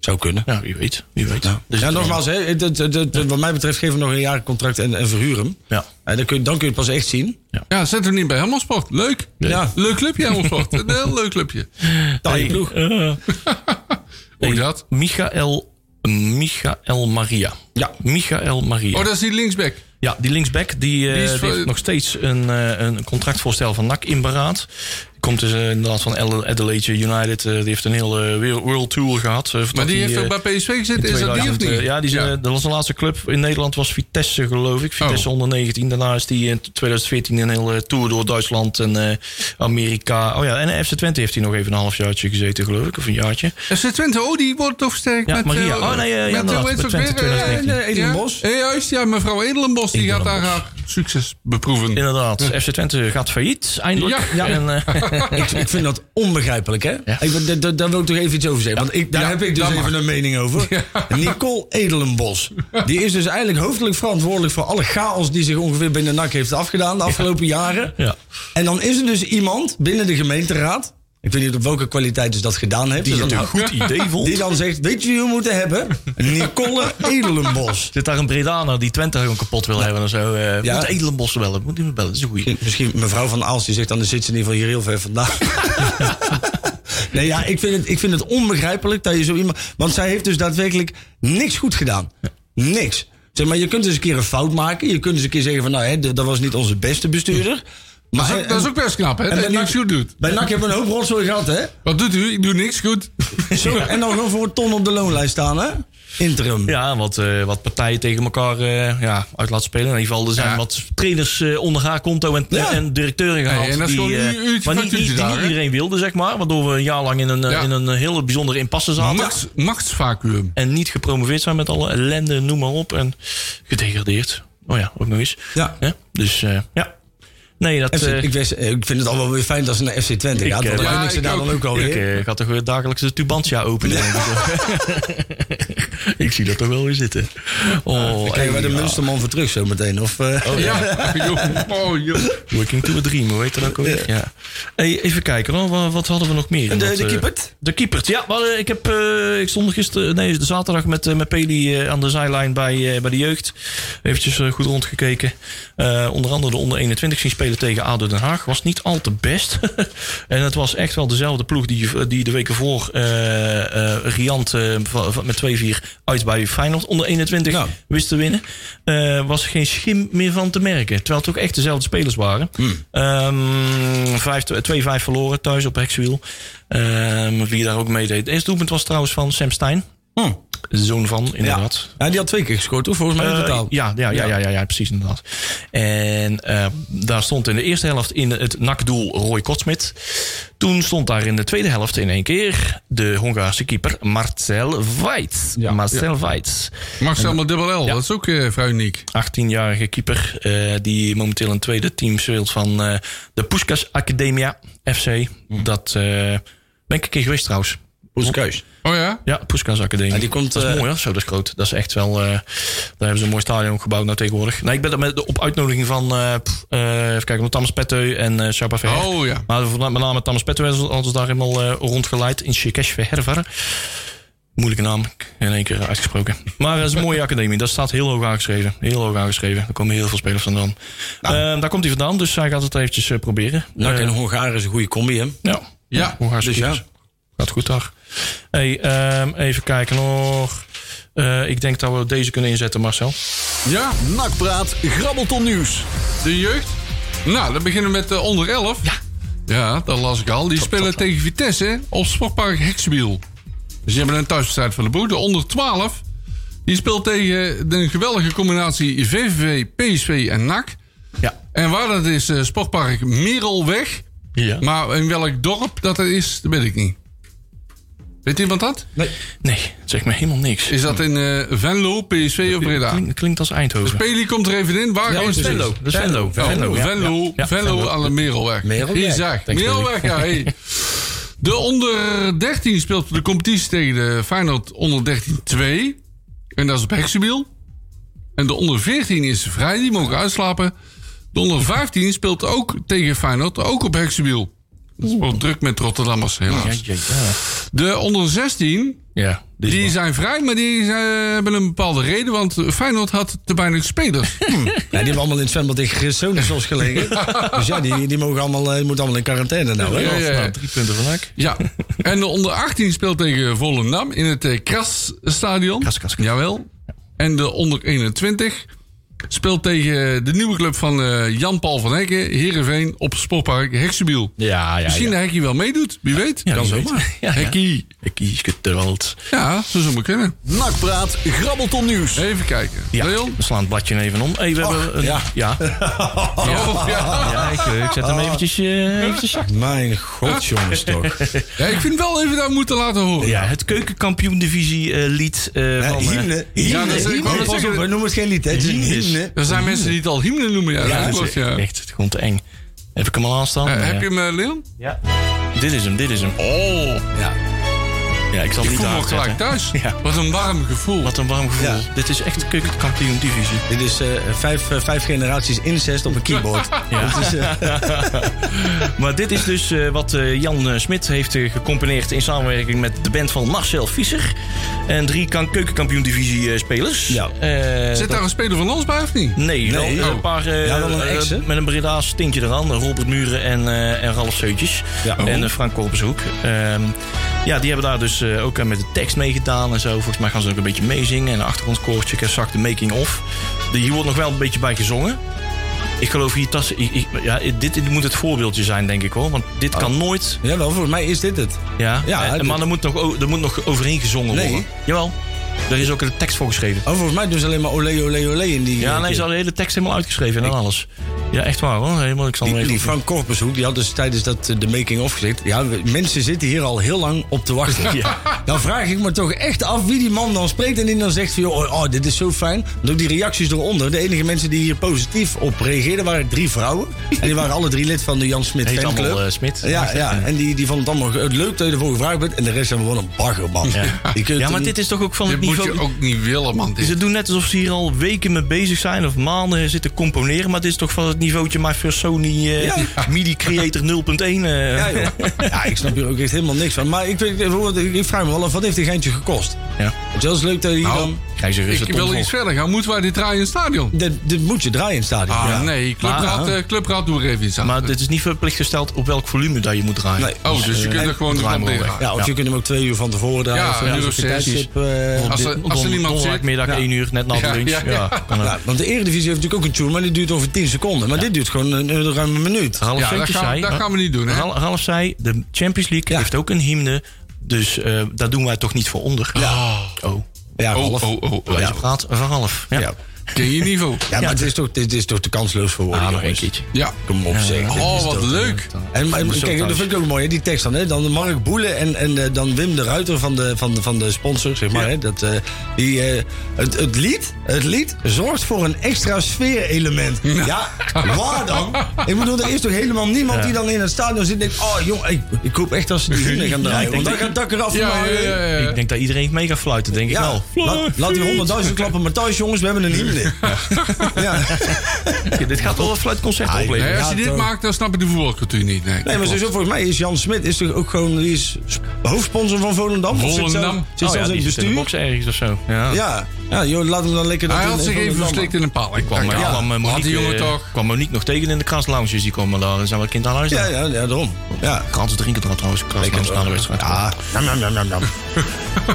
Zou kunnen.
ja, wie weet. Wie weet.
Ja,
Dus
ja
het-
nogmaals, hè, het- het- het- het- wat mij betreft geef hem nog een jaar contract en, en verhuur hem.
Ja.
En dan, kun je, dan kun je het pas echt zien.
Ja, zet hem niet bij Helmelsport. Leuk.
Nee.
Ja. Leuk
*laughs*
clubje, Helmelsport. een heel leuk clubje.
Taaie ploeg.
Eh,
Hoe dat?
Michael, Michael Maria.
Ja.
Michael Maria.
Oh, dat is die linksback.
Ja, die linksback die, eh,
Die is
die
voor-
heeft nog steeds een, eh, een contractvoorstel van NAC in beraad. Komt dus eh, inderdaad van Adela- Adelaide United. eh, die heeft een heel eh, wereld- World Tour gehad. eh, voordat
Maar die heeft
eh,
ook bij PSV gezeten,
in
is dat die of
2000,
niet?
eh, Ja, die is, eh, dat was de laatste club in Nederland was Vitesse, geloof ik. Vitesse
Oh.
onder 19. Daarna is die in 2014 een hele tour door Duitsland en eh, Amerika. Oh ja, en FC Twente heeft hij nog even een halfjaartje gezeten, geloof ik. Of een jaartje.
FC Twente, oh, die wordt toch versterkt
Ja,
met...
Maria.
eh,
Oh, nee, eh, ja,
met,
inderdaad,
hoe heet ze
met
ook
Twente
weer? Eh,
2019.
eh, Ja, eh, juist, ja, mevrouw Edelenbos, die gaat daar
Edelenbos.
haar succes beproeven.
Inderdaad, FC Twente gaat failliet, eindelijk.
Hm. Ja.
En, eh,
*laughs*
*laughs*
ik, ik vind dat onbegrijpelijk, hè? Ik, wil- daar- daar- daar wil ik toch even iets over zeggen. Want ik, daar
Ja,
heb ik dus
dat
even
mag.
een mening over. Nicole Edelenbos. Die is dus eigenlijk hoofdelijk verantwoordelijk voor alle chaos die zich ongeveer binnen NAC heeft afgedaan de afgelopen jaren.
ja.
En dan is er dus iemand binnen de gemeenteraad. Ik weet niet op welke kwaliteit dus dat gedaan heeft.
Die
dus
het
dan-
een goed idee vond.
die dan zegt, weet je wie we moeten hebben? Nicole Edelenbos.
Zit daar een Bredana die Twente gewoon kapot wil hebben en zo. eh
Ja.
Moet Edelenbos bellen, moet hij me bellen, dat is een goeie.
Misschien mevrouw van Aals, die zegt dan, dan zit ze in ieder geval hier heel ver vandaan. nee, ja, ik vind, het, ik vind het onbegrijpelijk dat je zo iemand... Want zij heeft dus daadwerkelijk niks goed gedaan. Niks. Zeg maar, je kunt dus een keer een fout maken. Je kunt dus een keer zeggen van, nou, hè, d- dat was niet onze beste bestuurder. Maar,
Dat is ook- dat is ook best knap, hè?
en
Dat
bij
je
NAC-
niks goed doet.
Bij NAC hebben we een hoop rotzooi gehad, hè?
Wat doet u? Ik doe niks
*laughs*
goed.
Zo, En dan gewoon voor een ton op de loonlijst staan, hè? Interim.
Ja, wat, eh, wat partijen tegen elkaar eh, ja, uit laten spelen. In ieder geval, er zijn
Ja.
wat trainers eh, onder haar konto en,
Ja.
en directeuren gehaald.
Nee, en dat is
die,
gewoon
eh,
een uurtje
maar niet,
factuurtje
niet, die
daar,
niet
hè?
iedereen wilde, zeg maar. Waardoor we een jaar lang in een, eh,
Ja.
in een hele bijzondere impasse zaten.
Machts, machtsvacuum.
En niet gepromoveerd zijn met alle ellende, noem maar op. En gedegradeerd. Oh ja, ook nog eens.
Ja.
Hè? Dus eh, ja. Nee, dat...
FC
eh,
ik, wist- eh, ik vind het al wel weer fijn dat ze naar FC Twente
Ik,
gaat. Want
eh,
dan
ja,
vind ik ze
ik
daar dan
ook.
ook alweer.
Ik eh, ga toch weer dagelijks de Tubantia openen. denk ik. *laughs* ik zie dat toch wel weer zitten. Oh,
Dan krijgen wij de
ja.
Munsterman voor terug zo meteen. Of, eh,
Oh, *laughs*
Ja, joh. Oh, joh.
Working to a dream, hoe heet dat ook alweer? Ja. Hey, even kijken, hoor. Wat, wat hadden we nog meer? in
De-
dat,
de
eh,
keepert?
De keepert, ja. Maar, eh, ik, heb, eh, ik stond gisteren, nee, de zaterdag met, eh, met Peli eh, aan de zijlijn bij, eh, bij de jeugd. Eventjes eh, goed rondgekeken. Eh, onder andere de onder 21 zien spelen tegen ADO Den Haag. Was niet al te best. *laughs* en het was echt wel dezelfde ploeg die, die de weken voor eh, eh, Riant eh, va- va- met 2-4 uit bij Feyenoord onder 21
Nou.
wist te winnen. Eh, was geen schim meer van te merken. Terwijl het ook echt dezelfde spelers waren.
Hmm.
Ehm, vijf- 2-5 verloren thuis op Hexwiel. Ehm, wie daar ook meedeed. Het eerste doelpunt was trouwens van Sam Stein.
Hm.
Zoon van,
Ja.
inderdaad.
ja, die had twee keer gescoord, toch? Volgens mij in
Eh,
totaal.
ja, ja, ja, ja, ja, ja, precies inderdaad. En eh, daar stond in de eerste helft in het nakdoel Roy Kotsmit. Toen stond daar in de tweede helft in één keer de Hongaarse keeper Marcel Weitz.
Ja.
Marcel Weitz.
Marcel met dubbel L, dat is ook eh, vrij uniek.
18-jarige keeper eh, die momenteel in het tweede team speelt van eh, de Puskas Academia FC. Dat eh, ben ik een keer geweest trouwens.
Poeskeus.
Oh ja?
Ja, Poeskas Academie.
Ja, die komt,
dat is
eh,
mooi, hoor. Zo, dat is groot. Dat is echt wel... eh, daar hebben ze een mooi stadion gebouwd nou tegenwoordig. Nee, ik ben er met, op uitnodiging van... eh pff, eh, even kijken, van Thomas Petteu en eh Sharpa Verher.
Oh ja.
Maar voorna- met name Thomas Petteu is altijd daar helemaal eh, rondgeleid. In Shikesh Verher. Moeilijke naam. In één keer uitgesproken. Maar eh, het is een mooie academie. Dat staat heel hoog aangeschreven. Heel hoog aangeschreven. Daar komen heel veel spelers vandaan.
Nou.
Eh, daar komt hij vandaan, dus hij gaat het eventjes eh, proberen.
Nak
Eh,
en Hongaren is een goede combi, hè?
ja.
Ja.
Hoe gaat het?
Dus ja.
goed? Gaat goed, dag. Hey, ehm, even kijken nog. Eh, ik denk dat we deze kunnen inzetten, Marcel.
Ja,
Nakpraat, grabbelton nieuws.
de jeugd. Nou, dan beginnen we met eh, onder 11. Ja. Ja, dat las ik al. Die spelen tegen Vitesse hè, op Sportpark Hexwiel. Dus die hebben een thuiswedstrijd van de boer. De onder 12. Die speelt tegen de geweldige combinatie VVV, PSV en NAC.
Ja.
En waar dat is, eh, Sportpark Merelweg.
Ja.
Maar in welk dorp dat er is, dat weet ik niet. Weet iemand dat?
Nee, het zegt me helemaal niks.
Is dat in eh, Venlo, PSV of Breda?
Klink- klinkt als Eindhoven.
Peli komt er even in. Waar
Ja,
is
precies.
Venlo?
Dat is Venlo.
Oh,
Venlo, ja.
Venlo,
Ja, ja,
Venlo
Venlo.
aan de Merelweg.
Merelweg.
Isaac.
Thanks,
Merelweg, ja.
*laughs*
Hey. De onder 13 speelt de competitie tegen de Feyenoord onder 13 2. En dat is op Hexabiel. En de onder 14 is vrij, die mogen uitslapen. De onder 15 speelt ook tegen Feyenoord, ook op Hexabiel. Dat is wel druk met Rotterdammers,
Ja,
helaas.
ja, ja.
De onder 16
ja dit
die
is
zijn vrij, maar die eh, hebben een bepaalde reden. Want Feyenoord had te
*laughs*
weinig spelers. Hm.
Ja, die hebben allemaal in het zwembad tegen Gersonisos gelegen. dus ja, die, die, mogen allemaal, eh, die moeten allemaal in quarantaine nou, hè?
Ja, ja, ja.
nou, drie punten van Ak. *laughs*
Ja, en de onder 18 speelt tegen Volendam in het eh, Krasstadion.
Kras, Kras, Kras.
Jawel. En de onder 21 Speelt tegen de nieuwe club van eh, Jan-Paul van Hekken, Heerenveen, op Sportpark Heksenbiel.
Ja, ja,
Misschien
ja.
dat Hekkie wel meedoet, wie weet.
Ja,
kan
wie weet. *laughs*
zomaar.
Ja, ja.
Hekkie.
Ik kies geduld.
Ja, zo zou maar kunnen.
Nakpraat, grabbelton nieuws.
Even kijken.
Ja,
Leon?
we slaan het bladje even om. Hey, we hebben een,
ja.
ja. *laughs* Ja.
Oh, ja.
ik, eh, ik zet hem eventjes, eh eventjes zacht.
Mijn god, jongens
*laughs*
toch.
Ja, ik vind wel even dat moeten laten horen.
Ja, het keukenkampioen-divisie eh, lied eh,
Ja,
van... eh,
hymne. hymne.
dat is- ik wou net
pas op,
zeggen-
we noemen het geen lied, hè. Het is een
Hymnes.
hymne.
Er zijn mensen die het al hymne noemen.
ja,
Ja, dat
het
klopt,
is
ja.
echt gewoon te eng. Heb ik hem al aanstaan?
Eh,
Ja.
heb je hem, eh, Leon?
Ja. Dit is hem, Oh, dit is hem. Oh!
Ja.
Ja, ik zal
Ik
niet
voel me
daar
ook gelijk thuis.
Ja.
Wat een warm gevoel.
Wat een warm gevoel.
Ja.
Dit is echt keukenkampioen-divisie.
Dit is eh, vijf, eh, vijf generaties incest op een keyboard.
*laughs* Ja.
Dat is, eh,
Maar dit is dus eh, wat eh, Jan eh, Smit heeft eh, gecomponeerd in samenwerking met de band van Marcel Visser. En drie kan- keukenkampioen-divisie eh, spelers.
Ja.
Eh,
Zit
dat-
daar een speler van ons bij of niet?
Nee, wel,
Nee.
eh,
Oh.
een paar eh,
Ja, wel een
eh,
ex, hè?
met een Breda's tintje eraan. Robert Muren en, eh, en Ralf Seutjes.
Ja. Oh.
En eh, Frank Kolpershoek. Ehm, ja, die hebben daar dus eh, ook eh, met de tekst meegedaan en zo. Volgens mij gaan ze ook een beetje meezingen. En een achtergrondkoortje, ik heb zak de making of. De- Hier wordt nog wel een beetje bij gezongen. Ik geloof hier, tas, ik, ik- ja, dit, dit moet het voorbeeldje zijn, denk ik hoor. Want dit kan nooit.
Jawel, volgens mij is dit het.
Ja,
Oh. Ja,
Eh,
dit-
maar er moet, nog, o- er moet nog overheen gezongen
Nee.
worden. Jawel, daar is ook een tekst voor geschreven.
Oh, volgens mij doen ze alleen maar olé, olé, olé in die...
Ja,
eh,
nee, ze
keer.
hadden de hele tekst helemaal uitgeschreven en alles. Ja, echt waar hoor. Helemaal, ik zal hem
Die,
even
die Frank Korpershoek, die had dus tijdens dat, eh, de making-of gezegd... Ja, we- mensen zitten hier al heel lang op
*laughs*
te wachten. Dan vraag ik me toch echt af wie die man dan spreekt... en die dan zegt van, joh, oh, oh, dit is zo fijn. Want ook die reacties eronder. De enige mensen die hier positief op reageerden waren drie vrouwen. En die waren alle drie lid van de Jan Smit
Heet
fanclub.
allemaal eh, Smit.
Ja, ja, en die, die vond het allemaal ge- leuk dat je ervoor gevraagd bent. En de rest hebben we gewoon een bagger, man.
Ja.
Die kunt
Ja,
hem-
maar dit is toch ook van
Dit
het
moet je
niveau...
ook niet willen, man. Dit.
Ze doen net alsof ze hier al weken mee bezig zijn of maanden zitten componeren. Maar dit is toch van het niveautje My First Sony eh, MIDI Creator 0.1. eh.
Ja, joh.
*laughs*
ja, ik snap hier ook echt helemaal niks van. Maar ik, weet, ik ik vraag me wel af, wat heeft die geintje gekost?
Ja.
Het is leuk dat je hier
Nou,
dan...
Grijze rust,
Ik
het
wil
ontvolk.
iets verder gaan. Moeten wij dit draaien in het stadion?
Dit, dit moet je draaien in het stadion.
Ah,
Ja.
nee. Clubraad,
Maar-
eh, clubraad doe er even iets aan.
Maar dit is niet verplicht gesteld op welk volume dat je moet draaien.
Nee.
oh, dus je kunt er gewoon de
draai
kant
maar
in
weg.
gaan.
Ja, of je kunt hem ook twee uur van tevoren draaien.
Ja,
of zo,
een
als
uur
je
of zes.
tijdstip, eh,
Op
Als
dit-
er-
op
als er
don-
niemand zit.
donderdagmiddag
Ja.
1 uur, net na de
Ja,
lunch.
ja,
Ja,
ja.
kan ook.
ja, want de Eredivisie heeft natuurlijk ook een tune, maar die duurt over 10 seconden. Maar dit duurt gewoon een, een ruim een minuut.
Ralf
Ja, dat
Seuntjes
gaan,
zei...
dat gaan we niet doen, hè?
Ral- Ralf zei, de Champions League
Ja.
heeft ook een hymne. Dus eh, daar doen wij toch niet voor onder. Oh,
Ja,
Oh,
half.
oh, oh, oh.
wijze praat van Ralf. Ja,
Ja.
Ken je niveau.
Ja, maar het is toch, dit is toch te kansloos voor woorden,
Ah, nog een
jongens.
keertje.
Ja.
Kom op, zeg. Dit
Oh,
is
wat
toch-
leuk.
En, maar-
Moet zo
kijk, dat
thuis.
vind ik ook mooi, hè, die tekst dan. Hè? Dan Mark Boelen en, en eh, dan Wim de Ruiter van de, van de, van de sponsor, zeg maar. Hè? Dat, eh, die, eh, het, het, lied, het lied zorgt voor een extra sfeerelement. Ja. waar dan? Ik bedoel, er is toch helemaal niemand die dan in het stadion zit en denkt... Oh, jong, ik, ik hoop echt dat ze die hymne gaan draaien.
ik
want
denk
dan gaat dak eraf van
Ja,
mij.
ja, ja, ja.
Ik denk dat iedereen heeft mee gaat fluiten, denk ik
Ja,
wel.
laat, laat die honderdduizend klappen maar thuis, jongens. We hebben een hymne. Ja.
Ja, *laughs* dit gaat wel een fluitconcert opleveren.
Nee, als je
Ja,
dit
toch.
maakt, dan snap je de voetbalcultuur niet. Nee,
Nee, maar
Klopt.
sowieso, volgens mij is Jan Smit is toch ook gewoon die is hoofdsponsor van Volendam. Of Zit zelf-
Volendam.
zit
Oh ja,
zelfs in
die
het
zit in de
bestuur.
box ergens of zo. Ja.
Ja, ja joh, laat hem dan lekker dat
Hij
doen
had
in
zich even
Volendam.
verslikt in een paal. Ik kwam
Maar
ja.
kwam, eh,
Laat
Monique,
die jongen
eh,
toch.
kwam Monique nog tegen in de kraslounges. Die komen daar. Er zijn wel kinderen aan huis. daar.
Ja, ja, ja, daarom. Ja.
Kranten drinken er al trouwens. Kraslounges na de wedstrijd. Ah,
Ja, nam, nam, nam, nam, nam.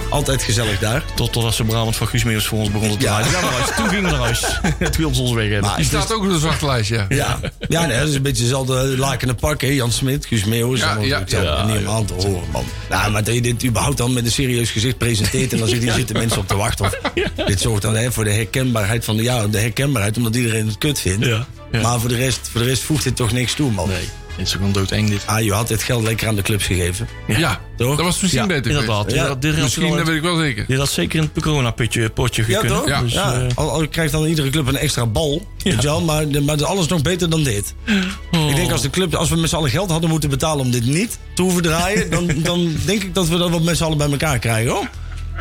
Altijd gezellig daar.
Tot, totdat ze Brabant van Guus Meeuws voor ons begonnen te
Ja.
leiden. Ja, maar uit. toen gingen we naar *laughs* huis. Het wilde ze ons weg hebben.
Maar-
Die staat ook op de zwarte lijst, ja.
Ja, ja nee, dat is een beetje eh, hetzelfde lakende pak, hè? Jan Smit, Guus Meeuwis.
Ja,
Ja,
ja,
ja,
ja,
niet om aan te horen, man. Nou, maar dat je dit überhaupt dan met een serieus gezicht presenteert... en dan zitten, hier zitten mensen op te wachten.
*laughs*
Of, Dit zorgt dan hè, voor de herkenbaarheid van de... Ja, de herkenbaarheid, omdat iedereen het kut vindt.
Ja, ja.
Maar voor de, rest, voor de rest voegt dit toch niks toe, man.
Nee, het is gewoon doodeng dit.
Ah, je had dit geld lekker aan de clubs gegeven.
Ja,
Toch?
dat was misschien
Ja,
beter geweest.
Inderdaad.
Ja,
Dit- dit had
Misschien,
wel-
dat weet ik wel zeker.
Dit had zeker in het coronapotje potje
Ja,
gekund.
toch?
Ja.
Dus,
ja.
eh,
al, al krijgt dan iedere club een extra bal. Weet je wel, maar, de- maar alles nog beter dan dit. Ik
Oh.
denk als de club, als we met z'n allen geld hadden moeten betalen om dit niet te hoeven draaien, dan, dan denk ik dat we dat wat met z'n allen bij elkaar krijgen. Hoor.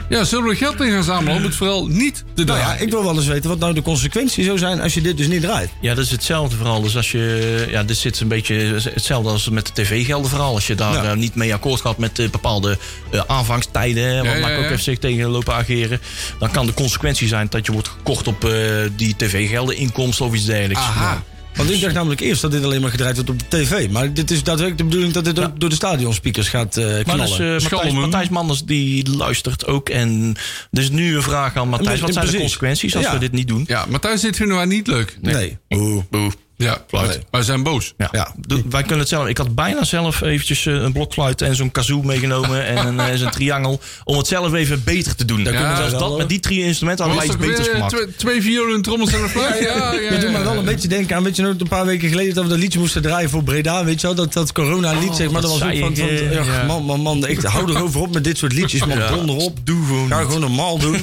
Ja, zullen we geld in gaan zamelen om het vooral niet te
Nou ja,
draaien?
ik wil wel eens weten wat nou de consequenties zou zijn als je dit dus niet draait.
Ja, dat is hetzelfde verhaal. Dus als je. Ja, dit zit een beetje hetzelfde als met de tv-gelden verhaal. Als je daar
Ja.
eh, niet mee akkoord gaat met eh, bepaalde eh, aanvangstijden. hè, Want
Ja,
ja,
ja,
ook
ja.
heeft zich tegen lopen ageren. Dan kan de consequentie zijn dat je wordt gekort op eh, die tv-gelden, inkomsten of iets dergelijks.
Aha.
Want ik dacht namelijk eerst dat dit alleen maar gedraaid wordt op de tv. Maar dit is daadwerkelijk de bedoeling dat dit ook door de stadionspeakers gaat eh,
Maar
knallen.
dus, eh, Matthijs,
Schalmen.
Matthijs Manders die luistert ook. En dus nu een vraag aan Matthijs. Wat zijn de
Precies.
consequenties als
Ja.
we dit niet doen?
Ja, maar thuis dit vinden wij niet leuk.
nee. Oeh.
Boe.
Ja,
Fluit.
wij zijn boos.
Ja.
Ja.
Doe- Wij kunnen het zelf. Ik had bijna zelf eventjes eh, een blokfluit en zo'n kazoo meegenomen. En een, eh, zo'n triangel. Om het zelf even beter te doen.
Ja,
kunnen we zelfs
wel,
dat
hoor.
met die drie instrumenten hadden wij iets beters
eh,
gemaakt.
twee, twee violen, trommels en een fluit? Ja, ja,
Je doet
ja,
me wel
ja.
een beetje denken aan, weet je nog, een paar weken geleden dat we dat liedje moesten draaien voor Breda, weet je wel, dat, dat corona-lied, zeg maar, dat was
dat
ook
zei
van,
ik,
van
eh,
ach,
ja.
man, man, man, ik hou erover op met dit soort liedjes, man, donder op.
Doe gewoon.
Ga gewoon normaal doen.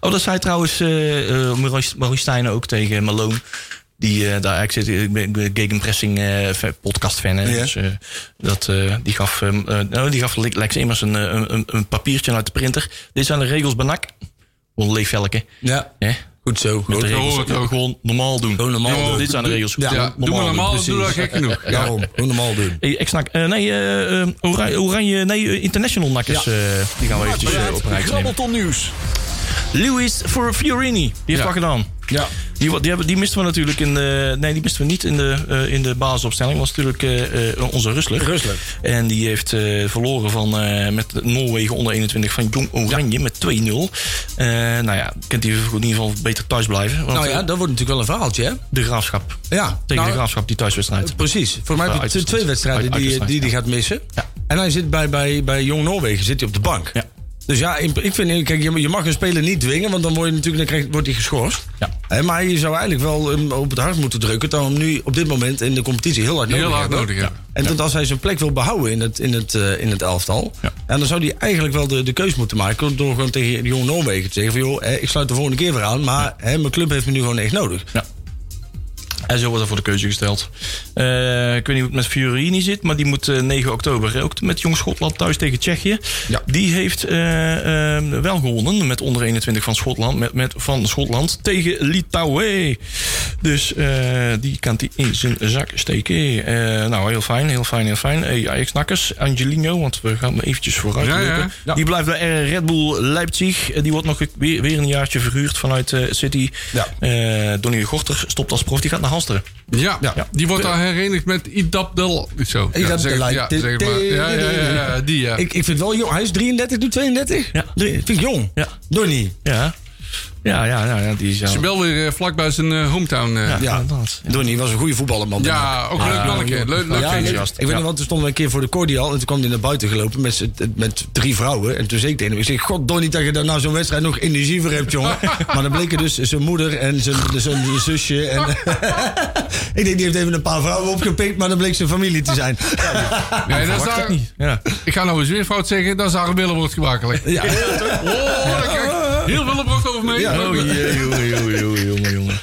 Oh, dat zei trouwens eh eh, Maurice- Maurice Stijn ook tegen Malone. Die eh, daar, ik zit, ik ben, ik ben Gegenpressing podcast fan. Hè,
Ja.
dus, eh, dat, eh, die, gaf, eh, eh, nou, die gaf Le- Lex immers een, eh, een, een- een papiertje uit de printer. Dit zijn de regels bij NAC. Gewoon leefvelke.
Ja,
hè?
goed zo.
Met de
Goed.
regels
hoort het ook.
gewoon normaal doen.
Gewoon normaal
Ja,
doen.
Dit zijn de regels.
Ja,
Ja, doe maar normaal,
precies.
doe dat gek genoeg.
Daarom, gewoon normaal doen.
Hey, ik snak. eh, nee, eh, eh, oranje, oranje, nee, eh, international nakkers. eh, die gaan we eventjes eh, op een rijtje nemen.
Grabbelton nieuws.
Luis for Fiorini. Die heeft
Ja.
wat gedaan.
Ja.
Die, wa- die, hebben, die misten we natuurlijk in de. Nee, die misten we niet in de, eh, in de basisopstelling. Was natuurlijk eh, eh, onze Rusler.
Rusler.
En die heeft eh, verloren van, eh, met Noorwegen onder 21 van Jong Oranje met 2-0. Eh, nou ja, kent hij in ieder geval beter thuis blijven. Want
Nou ja,
eh,
dat wordt natuurlijk wel een verhaaltje, hè?
de graafschap.
Ja.
Tegen de
nou,
graafschap die thuiswedstrijd.
Precies. Voor mij
Ja,
heb je t-
uitwedstrijd.
twee wedstrijden
Uit-
die hij die, die
uitwedstrijd,
gaat missen.
Ja.
En hij zit bij, bij, bij Jong Noorwegen zit hij op de bank.
Ja.
Dus ja, in- ik vind, kijk, je je mag een speler niet dwingen, want dan, word je natuurlijk, dan krijgt- wordt hij geschorst.
Ja.
Hè, maar je zou eigenlijk wel hem op het hart moeten drukken dat we hem nu op dit moment in de competitie heel hard nodig
Heel hard
hebben.
nodig, ja.
En dat als hij zijn plek wil behouden in het, in het, eh, in het elftal,
Ja.
en dan zou hij eigenlijk wel de, de keus moeten maken door gewoon tegen Jong Noorwegen te zeggen van joh, hè, ik sluit de volgende keer weer aan, maar hè, mijn club heeft me nu gewoon echt nodig.
En zo wordt er voor de keuze gesteld. Eh, ik weet niet hoe het met Fiorini zit, maar die moet eh, 9 oktober eh, ook met Jong Schotland thuis tegen Tsjechië.
Ja.
Die heeft eh, eh, wel gewonnen met onder 21 van Schotland, met, met van Schotland tegen Litouwen. Dus eh, die kan hij in zijn zak steken. Eh, nou, heel fijn, heel fijn, heel fijn. Hey, Ajax-nakkers, Angelino, want we gaan hem eventjes vooruit
Ja, ja.
lopen.
Ja.
Die blijft bij eh, Red Bull Leipzig. Eh, Die wordt nog weer, weer een jaartje verhuurd vanuit eh, City.
Ja.
Eh, Donny Gorter stopt als prof, die gaat naar Halsteren.
Ja,
Ja.
die wordt daar herenigd met Idab Del... Zo,
Idab
ja, zeg-
Del-
ja, zeg maar. Ja, ja, ja, ja, die ja.
Ik, ik vind wel jong. Hij is 33, doet 32.
Ja.
Drie- vind ik jong.
Ja.
Donnie.
Ja. Ja, ja, ja, ja, die is
Ze
ja.
wel weer eh, vlakbij zijn eh, hometown. eh.
Ja,
ja.
Ja.
inderdaad. Ja.
Donnie was een goede voetballer, man.
ook een leuk mannetje. Leuk, leuk
Ah, Ja,
ventje.
nee,
gast.
ik weet
Ja.
niet, want toen stonden we een keer voor de cordial en toen kwam hij naar buiten gelopen met, z'n- met drie vrouwen. En toen zei ik tegen hem, ik zeg, god Donnie, dat je daar nou zo'n wedstrijd nog energie voor hebt, jongen. maar dan bleken dus zijn moeder en zijn, zijn zusje. En ik denk, die heeft even een paar vrouwen opgepikt, maar dan bleek zijn familie te zijn.
Nee, dat is daar-
Ja.
ik ga nou eens weer fout zeggen. Dat is haar Willebrood gebakelijk.
ja.
Oh, daar kijk, heel Willebrood over mee.
Ja.
Oh, jee, jongen, jongen, jongen, jongen, jongen.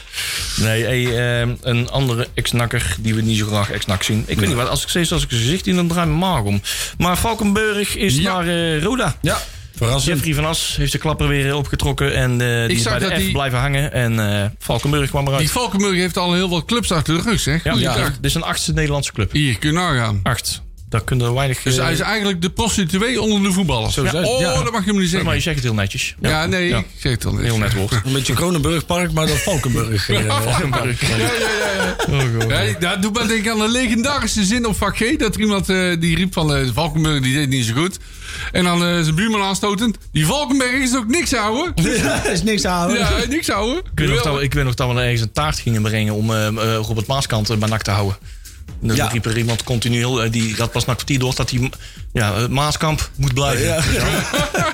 Nee, hey, ehm, een andere ex-nakker die we niet zo graag ex-nak zien. Ik weet niet wat, als ik steeds als ik zijn gezicht in, dan draai ik mijn maag om. Maar Valkenburg is
Ja.
naar eh, Roda.
ja, verrassend.
Jeffrey van As heeft de klapper weer eh, opgetrokken en eh, die is
zag
bij de
dat
F
die-
blijven hangen. En eh, Valkenburg kwam eruit.
Die Valkenburg heeft al heel wat clubs achter de rug, zeg.
ja,
Goeie
ja.
dag.
dit is een achtste Nederlandse club.
Hier, kun je nagaan.
Acht. Daar kunnen we weinig...
Dus
eh,
hij is eigenlijk de prostituee onder de voetballers.
Zo
Ja.
zijn-
Oh,
ja.
dat mag je hem niet
maar je
zeggen.
zegt het heel netjes.
Ja, nee,
Ja.
ik zeg het al niet.
Heel net woord.
Een beetje Kronenburgpark, maar dan Valkenburg. eh,
Valkenburg.
*laughs* Ja, ja, ja, ja.
Oh,
Ja, ik- dat doet me denken aan een legendarische zin op vak G. Dat er iemand eh, die riep van eh Valkenburg, die deed niet zo goed. En dan eh, zijn buurman aanstotend. Die Valkenberg is ook niks ouwe.
*laughs* Ja, is niks aan. houden.
Ja, niks ouwe.
Ik weet, nog dat we, ik weet nog dat we ergens een taart gingen brengen om eh, eh, Robert Maaskant eh, bij NAC te houden. En Dan
Ja.
riep er iemand continu, heel, eh, die had pas na een kwartier door dat hij ja, eh, Maaskamp moet blijven.
Ja.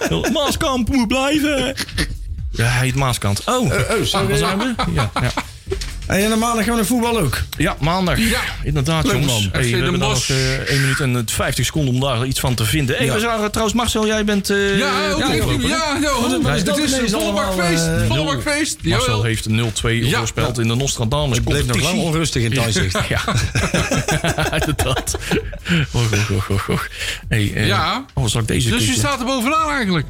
Heel, Maaskamp moet blijven! Ja, hij heet Maaskant. Oh,
Eh,
sorry.
waar zijn we? Ja, ja.
En ja, normaal gaan we naar voetbal ook.
ja maandag.
Ja.
Inderdaad,
Leuk,
jongens.
man.
Hey,
FC
we
Den
hebben dan nog
Bosch.
eh 1 minuut en 50 seconden om daar iets van te vinden. Hey,
Ja.
we zagen trouwens, Marcel, jij bent... eh,
Ja, ook
eh,
even-
voorloper, hè?
ja, ja,
wat is
het
dat
is een
ineens
volle bak
allemaal,
feest.
eh,
Volle bak feest.
Marcel
Jawel.
heeft 0-2
Ja.
voorspeld in de Nostradamus
Bleef nog lang
competitie.
onrustig
*laughs*
in thuis. zegt.
Ja, *laughs* inderdaad. Och, och, och, och, och. Hey, eh,
Ja.
Oh, zal ik deze
Dus je
kiezen?
staat er bovenaan eigenlijk.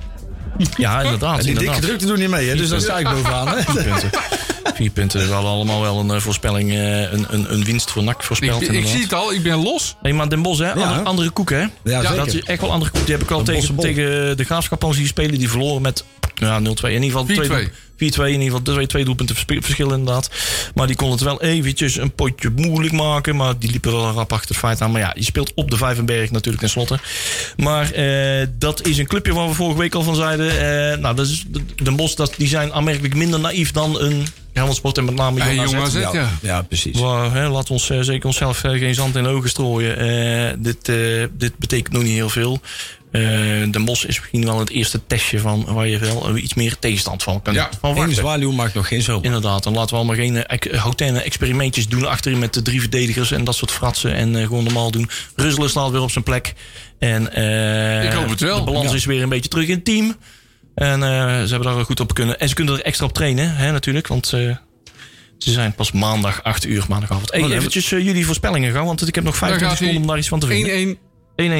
Ja, inderdaad.
*laughs* Die dikke
inderdaad.
drukte doen niet mee, hè? dus dan sta ik bovenaan. Hè?
punten. Vier punten. We hadden allemaal wel een eh, voorspelling, eh, een, een, een winst voor NAC
Ik,
voorspeld.
ik zie het al, ik ben los.
Hey, maar Den Bos, hè? Andere, andere koek, hè?
zeker.
Dat is echt wel andere koek. Die heb ik al
Bosch
tegen,
Bol.
tegen de Graafschap al zien spelen. Die verloren met ja, 0-2. In ieder geval
4-2.
twee- 4-2 in ieder geval. Twee, twee doelpunten verspe- verschil inderdaad. Maar die kon het wel eventjes een potje moeilijk maken. Maar die liepen wel rap achter het feit aan. Maar ja, je speelt op de Vijvenberg natuurlijk tenslotte. Maar eh, dat is een clubje waar we vorige week al van zeiden. eh, nou, dat is, de, de Bos, dat, die zijn aanmerkelijk minder naïef dan een Helmond Sport. En met name
Hey,
Jong AZ.
Jong AZ, ja.
ja, precies.
Waar, hè, laat ons eh, zeker onszelf eh, geen zand in de ogen strooien. Eh, dit, eh, dit betekent nog niet heel veel. Eh de Mos is misschien wel het eerste testje van waar je wel eh, iets meer tegenstand van kan
Ja,
van
Eén
wachten.
zwaluw maakt nog geen zomer.
Inderdaad, en laten we allemaal geen eh, ec- hotaine experimentjes doen achterin met de drie verdedigers en dat soort fratsen. En eh, gewoon normaal doen. Russelen staat weer op zijn plek. En eh,
Ik hoop het wel,
De balans
ja.
is weer een beetje terug in het team. En eh, ze hebben daar goed op kunnen. En ze kunnen er extra op trainen, hè, natuurlijk. Want eh, ze zijn pas maandag 8 uur, maandagavond. Hey, eventjes eh, jullie voorspellingen gaan, want ik heb nog
Daar
25
gaat-ie.
seconden om daar iets van te vinden.
1-1.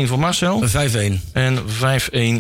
1-1 voor Marcel.
Een 5-1.
En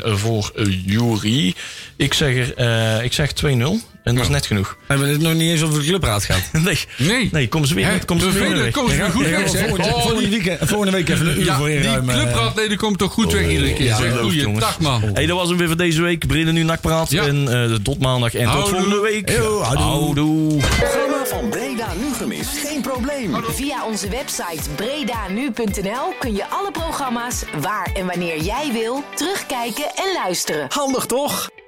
5-1 voor eh, Jury. Ik zeg, er, eh, ik zeg 2-0. En dat is net genoeg.
We hebben het nog niet eens over de clubraad gehad.
Nee.
Nee.
Nee, kom eens weer.
Hè,
met- kom eens weer.
Vervelend,
weg.
kom eens weer goed
Ja,
weg, zeg.
volgende,
Oh,
volgende
die-
week, volgende week even een uur
Ja,
voor
die
inruimen.
clubraadleden komen toch goed weg iedere keer. zeg.
geloof het,
Goeie
jongens.
dag, man.
Hey, dat was hem weer voor deze week. Brillen nu nakpraat.
Ja.
En eh tot maandag en tot
Houdoe.
volgende week.
Yo, houdoe.
Houdoe.
Programma van Breda Nu gemist. Geen probleem.
Via onze website bredanu.nl kun je alle programma's waar en wanneer jij wil terugkijken en luisteren.
Handig toch?